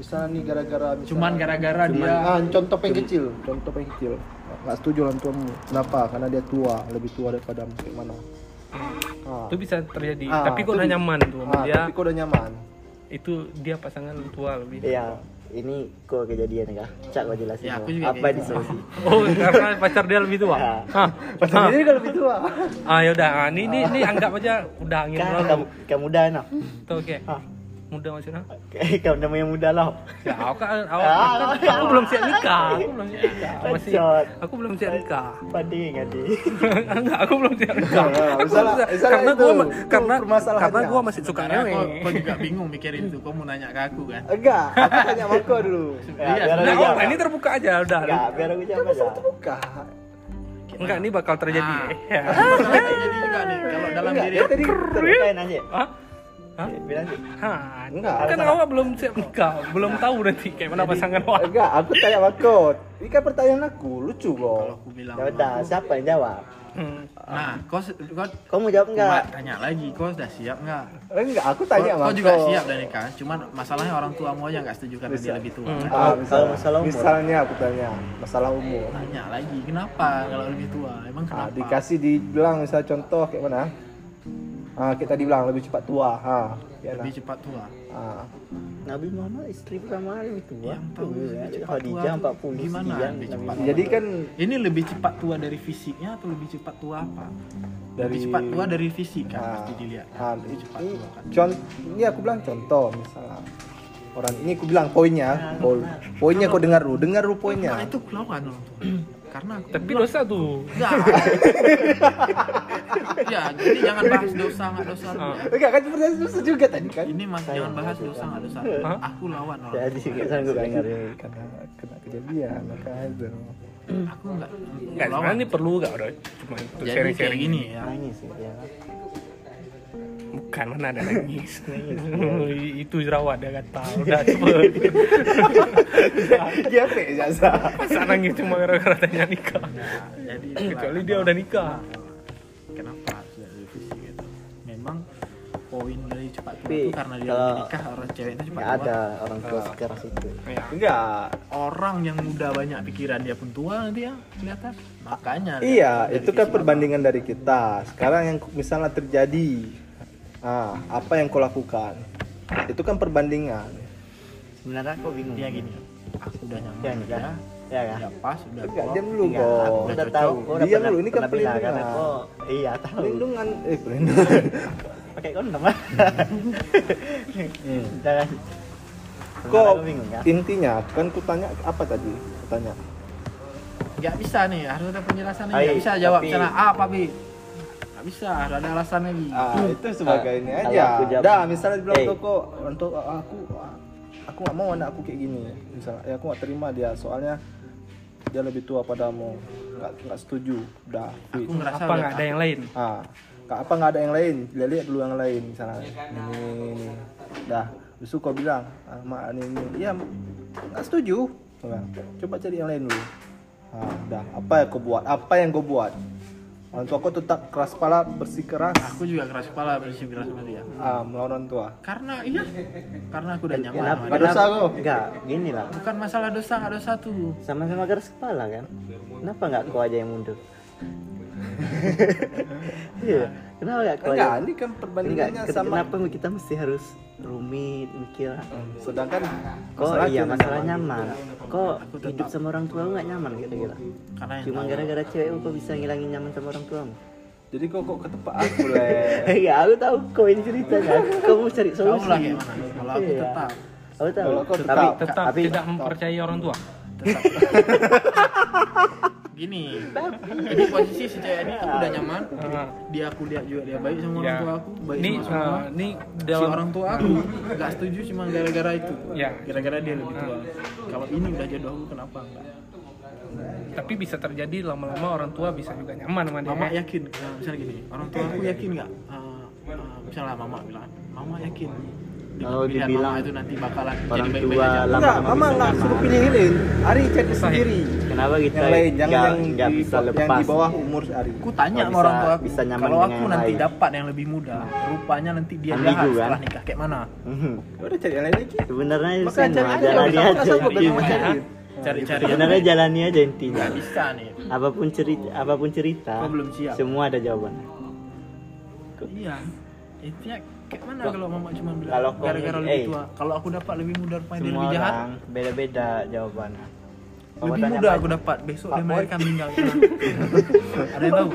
S6: misalnya nih gara-gara misalnya-
S3: cuman gara-gara dia
S6: ah, contoh paling kecil contoh paling kecil nggak setuju orang tuamu kenapa karena dia tua lebih tua daripada kayak mana ah.
S2: Itu bisa terjadi.
S6: Ah,
S2: tapi kok
S6: itu
S2: udah
S6: bi-
S2: nyaman tuh sama
S6: ah,
S2: dia.
S6: tapi kok udah
S3: [LAUGHS]
S6: nyaman
S2: Itu dia pasangan tua lebih.
S4: Iya, Ya, ini kok kejadian ya? Cak kok jelasin.
S3: Ya, aku
S4: dong.
S3: juga
S4: apa
S3: kayak
S4: di solusi?
S2: Oh, karena pacar dia lebih tua.
S4: Ya.
S2: Hah.
S6: Pasal dia kan lebih tua
S2: Ah, ya udah. Ah, ini, ini ini anggap aja udah angin
S4: Kan
S2: lalu.
S4: kamu kamu muda nah.
S2: Tuh kayak
S4: Ah.
S2: muda masih nah.
S4: Kayak [LAUGHS] kamu namanya muda lah.
S2: Ya, aku kan aku,
S4: Ah,
S2: kan-
S4: ah,
S2: aku belum siap nikah. Aku belum siap nikah. Masih
S4: Bacot.
S2: aku belum siap nikah.
S4: Padi ngadi.
S2: Enggak, aku belum siap nikah.
S6: Nah,
S2: Aku
S6: misalnya-
S2: belum siap-
S6: misalnya
S2: karena
S6: itu,
S2: gua ma-
S6: itu
S2: karena
S6: permasalahannya.
S2: karena gua masih suka Nah,
S3: Karena kau,
S2: ngewe.
S3: kau juga bingung mikir itu kau mau nanya ke aku kan
S6: enggak aku tanya
S3: [LAUGHS]
S6: Mako dulu
S4: Ya,
S3: Iya,
S4: biar
S2: Nah,
S4: aku
S2: oh,
S4: jawab.
S2: ini terbuka aja udah.
S6: Iya,
S4: Ya, biar aku jawab aja.
S6: buka
S2: Enggak, ini bakal terjadi.
S3: Ah.
S2: Ya.
S3: Masalahnya jadi juga nih kalau dalam
S4: Enggak,
S3: diri
S6: ya
S4: dia tadi terutain aja.
S2: Hah? Hah?
S4: Bilang sih.
S2: Hah,
S6: Enggak,
S2: Kan
S4: salah.
S2: awak belum siap nikah, belum tahu nanti kayak mana pasangan awak.
S6: enggak aku tanya Mako ini kan pertanyaan aku lucu
S3: kalau
S6: kok
S3: aku bilang
S4: Ya udah, siapa yang jawab?
S2: Hmm.
S3: nah kau se- kau
S4: Kau mau jawab enggak?
S3: Mbak, tanya lagi kau sudah siap nggak
S6: enggak aku tanya Ah,
S3: kau,
S6: Mako
S3: kau juga siap dan nikah cuman masalahnya orang tuamu aja nggak setuju karena dia lebih tua
S6: Ah,
S4: Kalau- kalau
S6: misalnya,
S4: masalah umur.
S6: misalnya aku tanya masalah umur
S3: tanya lagi kenapa kalau lebih tua emang
S6: Ah,
S3: kenapa
S6: dikasih dibilang misal contoh kayak mana? Ah, kita dibilang lebih cepat tua. Ha, ya
S3: lebih cepat tua
S6: Ah.
S4: Nabi Muhammad istri pertama kali itu ya.
S3: Yang tahu lebih cepat
S4: Khadijah
S3: tua.
S4: 40
S3: Gimana
S4: sekian
S3: lebih
S4: Nabi
S3: cepat?
S4: Muhammad. [LAUGHS]
S6: Jadi kan
S3: ini lebih cepat tua dari fisiknya atau lebih cepat tua apa lebih
S6: Dari-
S3: cepat tua dari fisik kan
S6: ah,
S3: pasti dilihat kan?
S6: ah,
S3: lebih cepat
S6: ini,
S3: tua kan
S6: con- ini aku bilang contoh misalnya orang ini aku bilang poinnya, poin- poinnya kau dengar dulu, dengar dulu poinnya.
S3: nah itu aku lawan
S6: [CLEARS THROAT]
S3: orang tua karena aku
S2: Tapi dosa tuh.
S3: enggak [LAUGHS] ya jadi jangan bahas dosa nggak dosa dulu ya.
S6: Enggak kan seperti itu juga tadi kan.
S3: ini mas jangan bahas dosa nggak dosa
S2: Hah?
S3: aku lawan orang
S4: Jadi nggak sanggup dengar.
S6: Dari karena kena kejadian maka itu.
S3: tua. aku nggak
S2: Enggak,
S3: aku lawan
S2: sebenarnya ini perlu enggak udah cuma untuk
S3: jadi kayak
S2: sharing-sharing
S3: gini
S4: [LAUGHS]
S3: ya
S4: Nangis ya.
S2: Bukan mana ada
S6: [LAUGHS]
S2: nangis. [LAUGHS] itu jerawat dia kata. Udah cepet.
S6: Dia fake jasa.
S2: Masa nangis cuma gara-gara tanya nikah.
S3: jadi
S2: Kecuali dia udah nikah.
S3: kenapa harus dari revisi gitu memang poin dari cepat tua
S4: Tapi
S3: itu karena dia
S4: kalau-
S3: udah nikah orang cewek itu cepat
S4: Enggak
S3: tua
S4: ada orang tua sekeras itu.
S6: Enggak.
S3: orang yang muda banyak pikiran dia pun tua nanti ya kelihatan makanya dia-
S6: Iya,
S3: dari
S6: itu kan
S3: fisik.
S6: perbandingan dari kita. Sekarang yang misalnya terjadi, ah, apa yang kau lakukan? Itu kan perbandingan.
S4: Sebenarnya aku bingung.
S3: dia gini aku udah nyaman
S4: Ya,
S3: ya,
S4: enggak.
S3: udah
S4: Ya kan?
S3: pas udah
S6: Enggak,
S3: klop.
S6: diam dulu
S4: Enggak,
S6: kok.
S4: aku udah
S3: Udah
S4: tahu.
S3: cocok.
S4: Aku udah
S6: Diam
S4: pernah-
S6: dulu, ini kan
S4: pernah bilang,
S6: pelindungan.
S4: karena aku- Iya, tahu.
S6: Pelindungan, eh
S4: [LAUGHS]
S6: pelindungan.
S4: Pakai kondom. [LAUGHS] ah. Jangan. Sebenarnya
S6: kok
S4: aku bingung kan?
S6: intinya kan ku tanya apa tadi? Ku tanya.
S3: nggak bisa nih harus ada penjelasan nih
S4: Hai,
S3: nggak bisa jawab
S4: tapi-
S3: misalnya A apa B nggak bisa harus ada alasan lagi
S6: Ah, itu sebagai
S4: Ah,
S6: ini
S4: kalau
S6: aja.
S4: aku jawab-
S6: Dah, misalnya dibilang
S4: Eh.
S6: toko untuk ah, aku aku nggak mau anak aku kayak gini. Misalnya, ya aku nggak terima dia soalnya dia lebih tua padamu. Nggak nggak setuju. Dah, quit.
S3: aku ngerasa
S2: Apa
S3: udah-
S2: enggak ada yang lain?
S6: ah kak apa nggak ada yang lain lihat lihat dulu yang lain misalnya ini ini dah besok kau bilang ah, mak ini ini iya nggak setuju Kau bilang, coba cari yang lain dulu ah, dah apa yang kau buat apa yang kau buat orang tua kau tetap keras kepala bersikeras
S3: aku juga keras kepala bersih keras sama dia
S6: ah, melawan orang tua
S3: ya. karena iya karena aku udah nyaman
S4: Kenapa?
S3: sama
S6: Nggak
S3: dia.
S6: dosa kau?
S4: Enggak, gini lah.
S3: bukan masalah dosa nggak dosa tuh
S4: Sama-sama keras kepala kan? Kenapa enggak kau aja yang mundur? Iya, kenapa enggak kau
S6: enggak
S4: aja?
S6: ini kan
S4: Enggak,
S6: perbandingannya
S4: ken-
S6: sama
S4: kenapa kita mesti harus rumit mikir
S6: sedangkan
S4: kok
S6: masalah
S4: iya
S6: kita
S4: masalah
S6: nyaman.
S4: nyaman kok hidup sama orang tua lu nggak nyaman gitu kira
S3: karena yang
S4: cuma gara-gara cewek lu kok bisa ngilangin nyaman sama orang tua lu?
S6: jadi kau kok ke tempat aku eh? leh
S4: [LAUGHS] iya aku tahu kau ini ceritanya kau mau cari
S3: tahu
S4: solusi
S3: lah kayak mana kalau aku
S4: Iya.
S3: tetap
S4: aku tahu
S6: Kalau kau
S4: tapi
S6: tetap-
S2: Tetap
S4: tapi
S2: tidak mempercayai orang tua.
S3: gini jadi posisi si cewek ini aku udah nyaman dia aku lihat juga dia baik sama orang
S2: Ya.
S3: tua aku
S2: Eh,
S3: baik
S2: Ini
S3: sama semua
S2: eh, ini
S3: si
S2: dalam
S3: orang tua aku nggak setuju cuma gara-gara itu
S2: Ya.
S3: gara-gara dia lebih tua kalau ini udah jodoh aku kenapa enggak
S2: tapi bisa terjadi lama-lama orang tua bisa juga nyaman sama dia.
S3: mama yakin nah, misalnya gini orang tua aku yakin nggak Eh, eh, misalnya mama bilang mama yakin
S4: Kalau
S3: pilihan
S4: dibilang
S3: mama Iya, itu nanti bakalan
S4: orang
S3: jadi baik-baik
S4: tua
S3: aja
S4: lama
S6: Enggak, mama enggak suruh pilihin. Ari cari sendiri.
S4: Kenapa kita
S6: Yang lain, jangan
S4: nggak-
S6: yang
S4: nggak
S6: di-
S4: bisa
S6: yang
S4: lepas?
S6: di bawah umur Ari.
S3: aku tanya
S4: Kalau
S3: sama orang
S4: bisa-
S3: tua aku
S4: bisa nyaman
S3: kalau
S4: dengan
S3: aku
S4: yang
S3: nanti
S4: lain.
S3: dapat yang lebih muda rupanya nanti dia
S4: Ambigu,
S3: jahat
S4: kan? Iya,
S3: setelah nikah kayak mana
S6: Ya Udah cari yang lain lagi.
S4: Hmm. Sebenarnya
S6: Maka
S4: sama,
S6: cari aja.
S4: jalani aja.
S6: Sama sama
S4: Iya.
S6: sama cari.
S3: cari-cari yang
S4: Sebenarnya jalani aja intinya.
S3: nggak bisa nih
S4: Apapun cerita, apapun cerita,
S3: Kau belum siap.
S4: semua ada jawabannya.
S3: iya intinya kayak mana
S4: Kok-
S3: kalau mama cuma
S4: kalau
S3: bilang
S4: kau-
S3: gara-gara
S4: eh.
S3: lebih tua kalau aku dapat lebih muda rupanya dia
S4: Semua
S3: lebih jahat
S4: orang beda-beda jawabannya. Kamu
S3: lebih
S4: tanya
S3: muda
S4: Pak-
S3: aku dapat besok
S4: Pak
S3: dia
S4: Boy.
S3: melahirkan
S4: [LAUGHS]
S3: meninggal ada yang tahu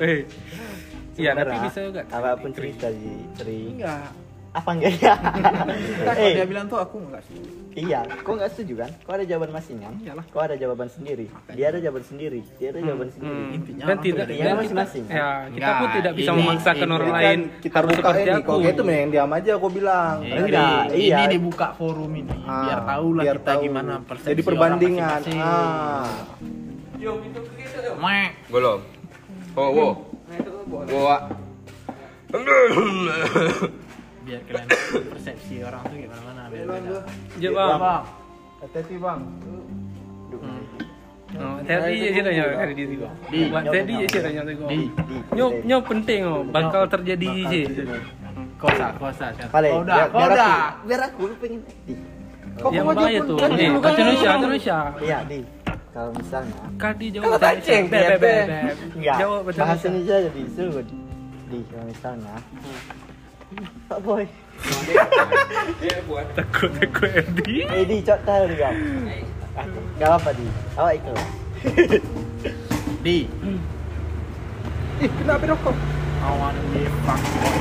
S2: Eh. Iya, tapi
S4: Sebenarnya,
S2: bisa juga.
S4: Apapun cerita di Tri.
S3: enggak
S4: Apa enggak ya?
S3: Entah kalau
S4: [LAUGHS] eh,
S3: dia bilang tuh aku enggak setuju
S4: iya. Kok enggak setuju kan? Kok ada jawaban masing-masing?
S3: Iyalah.
S4: Kok ada jawaban sendiri? Dia ada jawaban sendiri. Dia ada jawaban sendiri.
S2: Hmm. Dan
S3: Intinya orang
S2: tidak
S4: beda-beda
S2: dan kita-
S4: masing-masing.
S2: Ya, kita
S3: Enggak,
S2: pun tidak bisa
S3: ini-
S2: memaksakan
S3: ini
S2: orang
S6: Ini
S2: lain
S6: kan kita
S2: harus
S6: buka
S2: seperti
S6: ini. gitu,
S2: aku.
S6: Kalau kayak itu mending diam aja aku bilang.
S3: Ini-
S4: Enggak,
S3: ini,
S4: iya.
S3: dibuka forum ini biar tahu lah
S6: Ah, Biar
S3: kita
S6: tahu.
S3: gimana persepsi
S6: Jadi
S3: orang
S6: perbandingan.
S3: masing-masing.
S6: Ah.
S3: Mek.
S1: Belum. Oh, wo. Wo. ah.
S3: biar kalian tahu persepsi orang tuh gimana mana biar beda
S2: Ya, Bang.
S6: Hati-hati bang.
S2: Oh, Tadi je ceritanya dari diri gua. Buat Tadi je ceritanya dari gua. Nyo nyo penting oh, bakal terjadi je.
S3: kosa kosa sekarang.
S4: Paling,
S3: kau udah
S4: biar,
S3: kau
S4: biar
S3: udah
S4: aku, biar aku lu pengen. Di.
S2: Yang bahaya tu. Ni, Indonesia, Indonesia.
S4: Iya, di. Kalau misalnya
S2: Kadi jawab Indonesia. Beb, beb, beb, beb.
S4: Enggak.
S2: Jawab
S4: Iya. Bahasa
S2: bahasa Indonesia.
S4: Indonesia jadi suruh di kalau misalnya. Pak Boy.
S2: Takut takut Erdi.
S4: Eh di cok tahu di kau. Ah, Gak apa di. Awak itu.
S3: [LAUGHS] di
S6: Ih, kenapa rokok?
S3: awan di fuckboy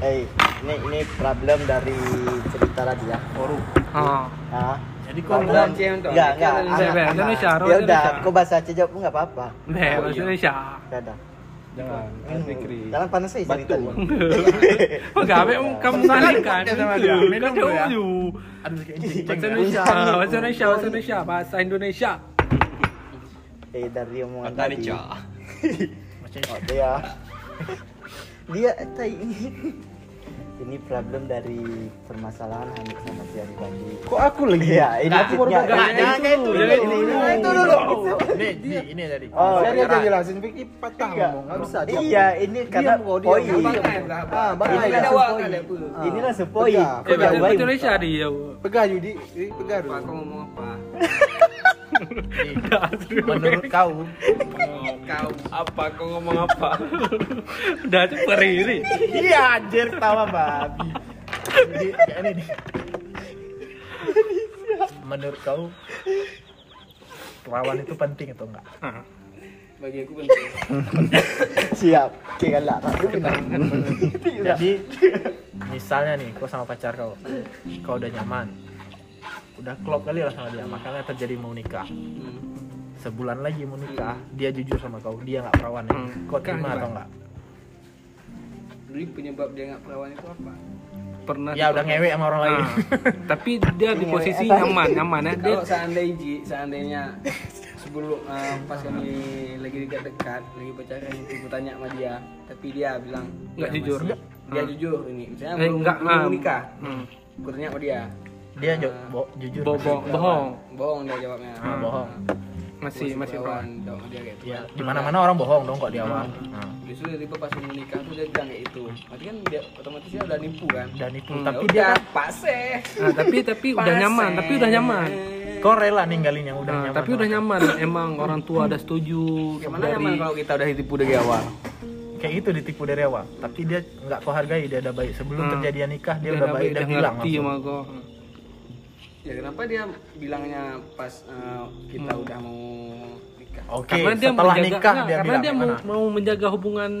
S4: Eh ini ini problem dari cerita tadi ya.
S3: forum
S2: Ha.
S4: Ah.
S3: jadi kau
S4: Problem.
S5: Aceh untuk
S4: Enggak enggak.
S5: Indonesia,
S4: anak-
S2: Beb.
S4: anak.
S2: Indonesia, orang
S4: Ya udah,
S2: Indonesia.
S4: kau bahasa Aceh jawab pun enggak apa-apa.
S2: Beb, bahasa Indonesia.
S4: Enggak ada.
S6: Jangan. Jangan pikir.
S4: Jangan panas sih cerita ni.
S2: Enggak, beb kamu salingkan. Itu. Kau tahu.
S3: aduh kayak ini
S2: Bahasa Indonesia, bahasa Indonesia, bahasa Indonesia, bahasa Indonesia.
S4: Eh dari omongan
S1: Kata
S4: tadi.
S1: Nica.
S3: macam
S4: Oh, dia. [LAUGHS] dia tai [LAUGHS] ini. Ini problem dari permasalahan Hamid sama si Ari Bandi.
S6: Kok aku lagi?
S4: Iya, ini
S3: Nah,
S4: aku baru
S3: enggak,
S4: baca.
S3: jangan kayak itu dulu.
S4: Ini, ini,
S3: Jangan
S4: ini.
S3: itu dulu. ini ini ini tadi
S4: Oh,
S6: Saya
S4: iya.
S6: aja jelasin Vicky patah
S4: Enggak.
S6: ngomong, nggak bisa. diam.
S4: Iya, ini karena
S6: Diam kau, diam.
S4: poi.
S6: Oh, Ah,
S4: Ini
S6: bahaya.
S4: langsung
S5: awak
S4: poi.
S5: kan ada apa.
S6: Ah.
S4: Ini langsung poi.
S6: Pegang,
S2: Eh,
S4: Pegang
S2: bahasa
S4: baik.
S2: Indonesia dia.
S6: Pegang Yudi, Eh, pegang dulu.
S5: Kau ngomong apa?
S2: [LAUGHS]
S3: menurut kau
S5: Kau apa? Kau ngomong apa?
S2: Udah cepat riri.
S4: [LAUGHS] Iya, anjir tawa babi.
S3: ini kayak ini nih. menurut kau lawan itu penting atau enggak
S5: Bagi aku penting.
S4: Siap. Oke, galak. Aku benar.
S3: Jadi misalnya nih, kau sama pacar kau, kau udah nyaman, udah klop kali lah sama dia, makanya terjadi mau nikah. Sebulan lagi mau nikah, dia jujur sama kau, dia nggak perawan ya.
S2: Hmm.
S3: Kau terima atau nggak?
S5: Dulu penyebab dia nggak perawan itu apa?
S2: Pernah.
S3: Ya udah ngewek sama orang lain.
S2: Ah, tapi dia di posisi nyaman, nyaman ya. Dia
S5: Kalau seandainya Ji, seandainya sebelum eh, pas kami lagi dekat-dekat, lagi pacaran itu aku tanya sama dia, tapi dia bilang
S2: Nggak
S5: "Ya,
S2: jujur."
S5: masih." Dia
S2: Ah.
S5: jujur ini, misalnya
S2: Eh,
S5: belum
S2: nggak,
S5: belum
S2: ah.
S5: nikah.
S2: hmm,
S5: Aku tanya sama dia,
S3: [LAUGHS] Dia ju- bo- jujur. Iya.
S2: bobo- bohong,
S5: bohong dia jawabnya. Nah,
S3: Ah, bohong.
S2: masih masih
S5: perawan.
S2: perawan.
S5: Jawab sama dia kayak itu.
S3: Ya, di mana mana orang bohong dong kok di awal.
S2: Hmm.
S3: Nah,
S5: Justru tiba-tiba pas mau nikah tuh dia bilang kayak itu. Berarti kan dia otomatis dia udah nipu kan.
S3: Dan itu,
S2: Hmm.
S3: tapi dia
S5: Udah
S3: kan-
S5: pas eh.
S2: Nah, tapi tapi udah nyaman, tapi udah nyaman.
S3: kau rela ninggalin yang udah
S2: Nah,
S3: nyaman. gitu.
S2: tapi udah nyaman. Emang orang tua ada setuju.
S5: Gimana nyaman kalau kita udah ditipu dari awal?
S3: Kayak itu ditipu dari awal. Tapi dia nggak kau hargai, dia udah baik. Sebelum
S2: Hmm.
S3: terjadian nikah dia,
S2: dia
S3: udah baik
S2: udah
S3: dan hilang.
S2: ngerti sama
S3: langsung.
S2: gua.
S5: Ya kenapa dia bilangnya pas eh, kita
S6: Hmm.
S5: udah mau nikah?
S3: Oke,
S2: Karena dia
S3: setelah
S2: menjaga,
S3: nikah
S2: nggak,
S3: dia
S2: karena
S3: bilang
S2: dia
S3: gimana?
S2: mau, mau menjaga hubungan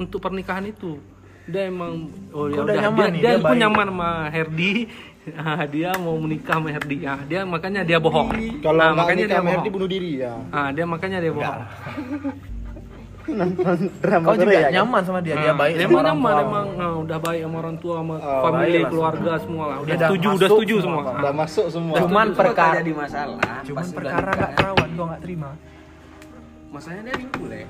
S2: untuk pernikahan itu. Dia emang oh ya
S3: Kau udah
S2: udah,
S3: nyaman
S2: dia,
S3: nih,
S2: dia
S3: dia
S2: pun
S3: baik.
S2: nyaman sama Herdi, [LAUGHS] Ah, dia mau menikah sama Herdi. Ah, dia makanya dia bohong.
S6: Oh,
S5: Nah,
S2: Ah,
S6: Kalau nggak
S2: makanya
S6: nikah
S2: dia
S6: sama Herdi
S2: bohong.
S6: bunuh diri ya.
S2: Ah, dia makanya dia bohong.
S6: Nonton drama
S3: Kau juga
S6: Korea.
S4: ya?
S6: kan?
S3: nyaman sama dia, dia
S2: Ah, Hmm. dia
S3: baik sama
S2: emang
S3: orang
S2: nyaman,
S3: tua.
S2: emang ah, udah baik sama orang tua sama
S6: Oh,
S2: family
S3: baik lah
S2: keluarga semua lah. Udah
S3: Udah
S2: setuju,
S3: masuk
S2: udah setuju semua.
S3: semua,
S2: Ah.
S6: Udah masuk semua.
S3: Cuman
S9: Itu bakal
S3: perkara
S9: jadi masalah.
S3: Cuman
S9: pas udah
S3: perkara
S9: nikah.
S3: nggak perawan kau nggak terima.
S9: Masalahnya dia nipu lah.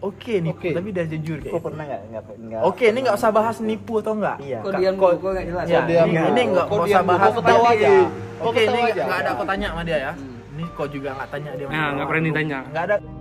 S3: Oke nih,
S6: Oke.
S3: tapi dia jujur kayak.
S4: Kok pernah nggak nggak nggak?
S3: Oke, ini nggak usah bahas nipu atau nggak.
S4: Iya.
S9: Kok
S4: Kak.
S9: dia kok kok nggak jelas.
S3: Ya,
S6: dia
S3: ini,
S6: mau.
S3: ini nggak
S6: Kok
S3: mau
S6: dia
S3: usah
S6: mau,
S3: bahas
S6: kok ketawa
S3: berarti-
S6: aja. Kok
S3: Oke, ini
S6: ketawa aja.
S3: nggak ada aku tanya sama dia ya. Ini kok juga nggak tanya dia.
S2: Nah, nggak berani tanya.
S3: Nggak ada.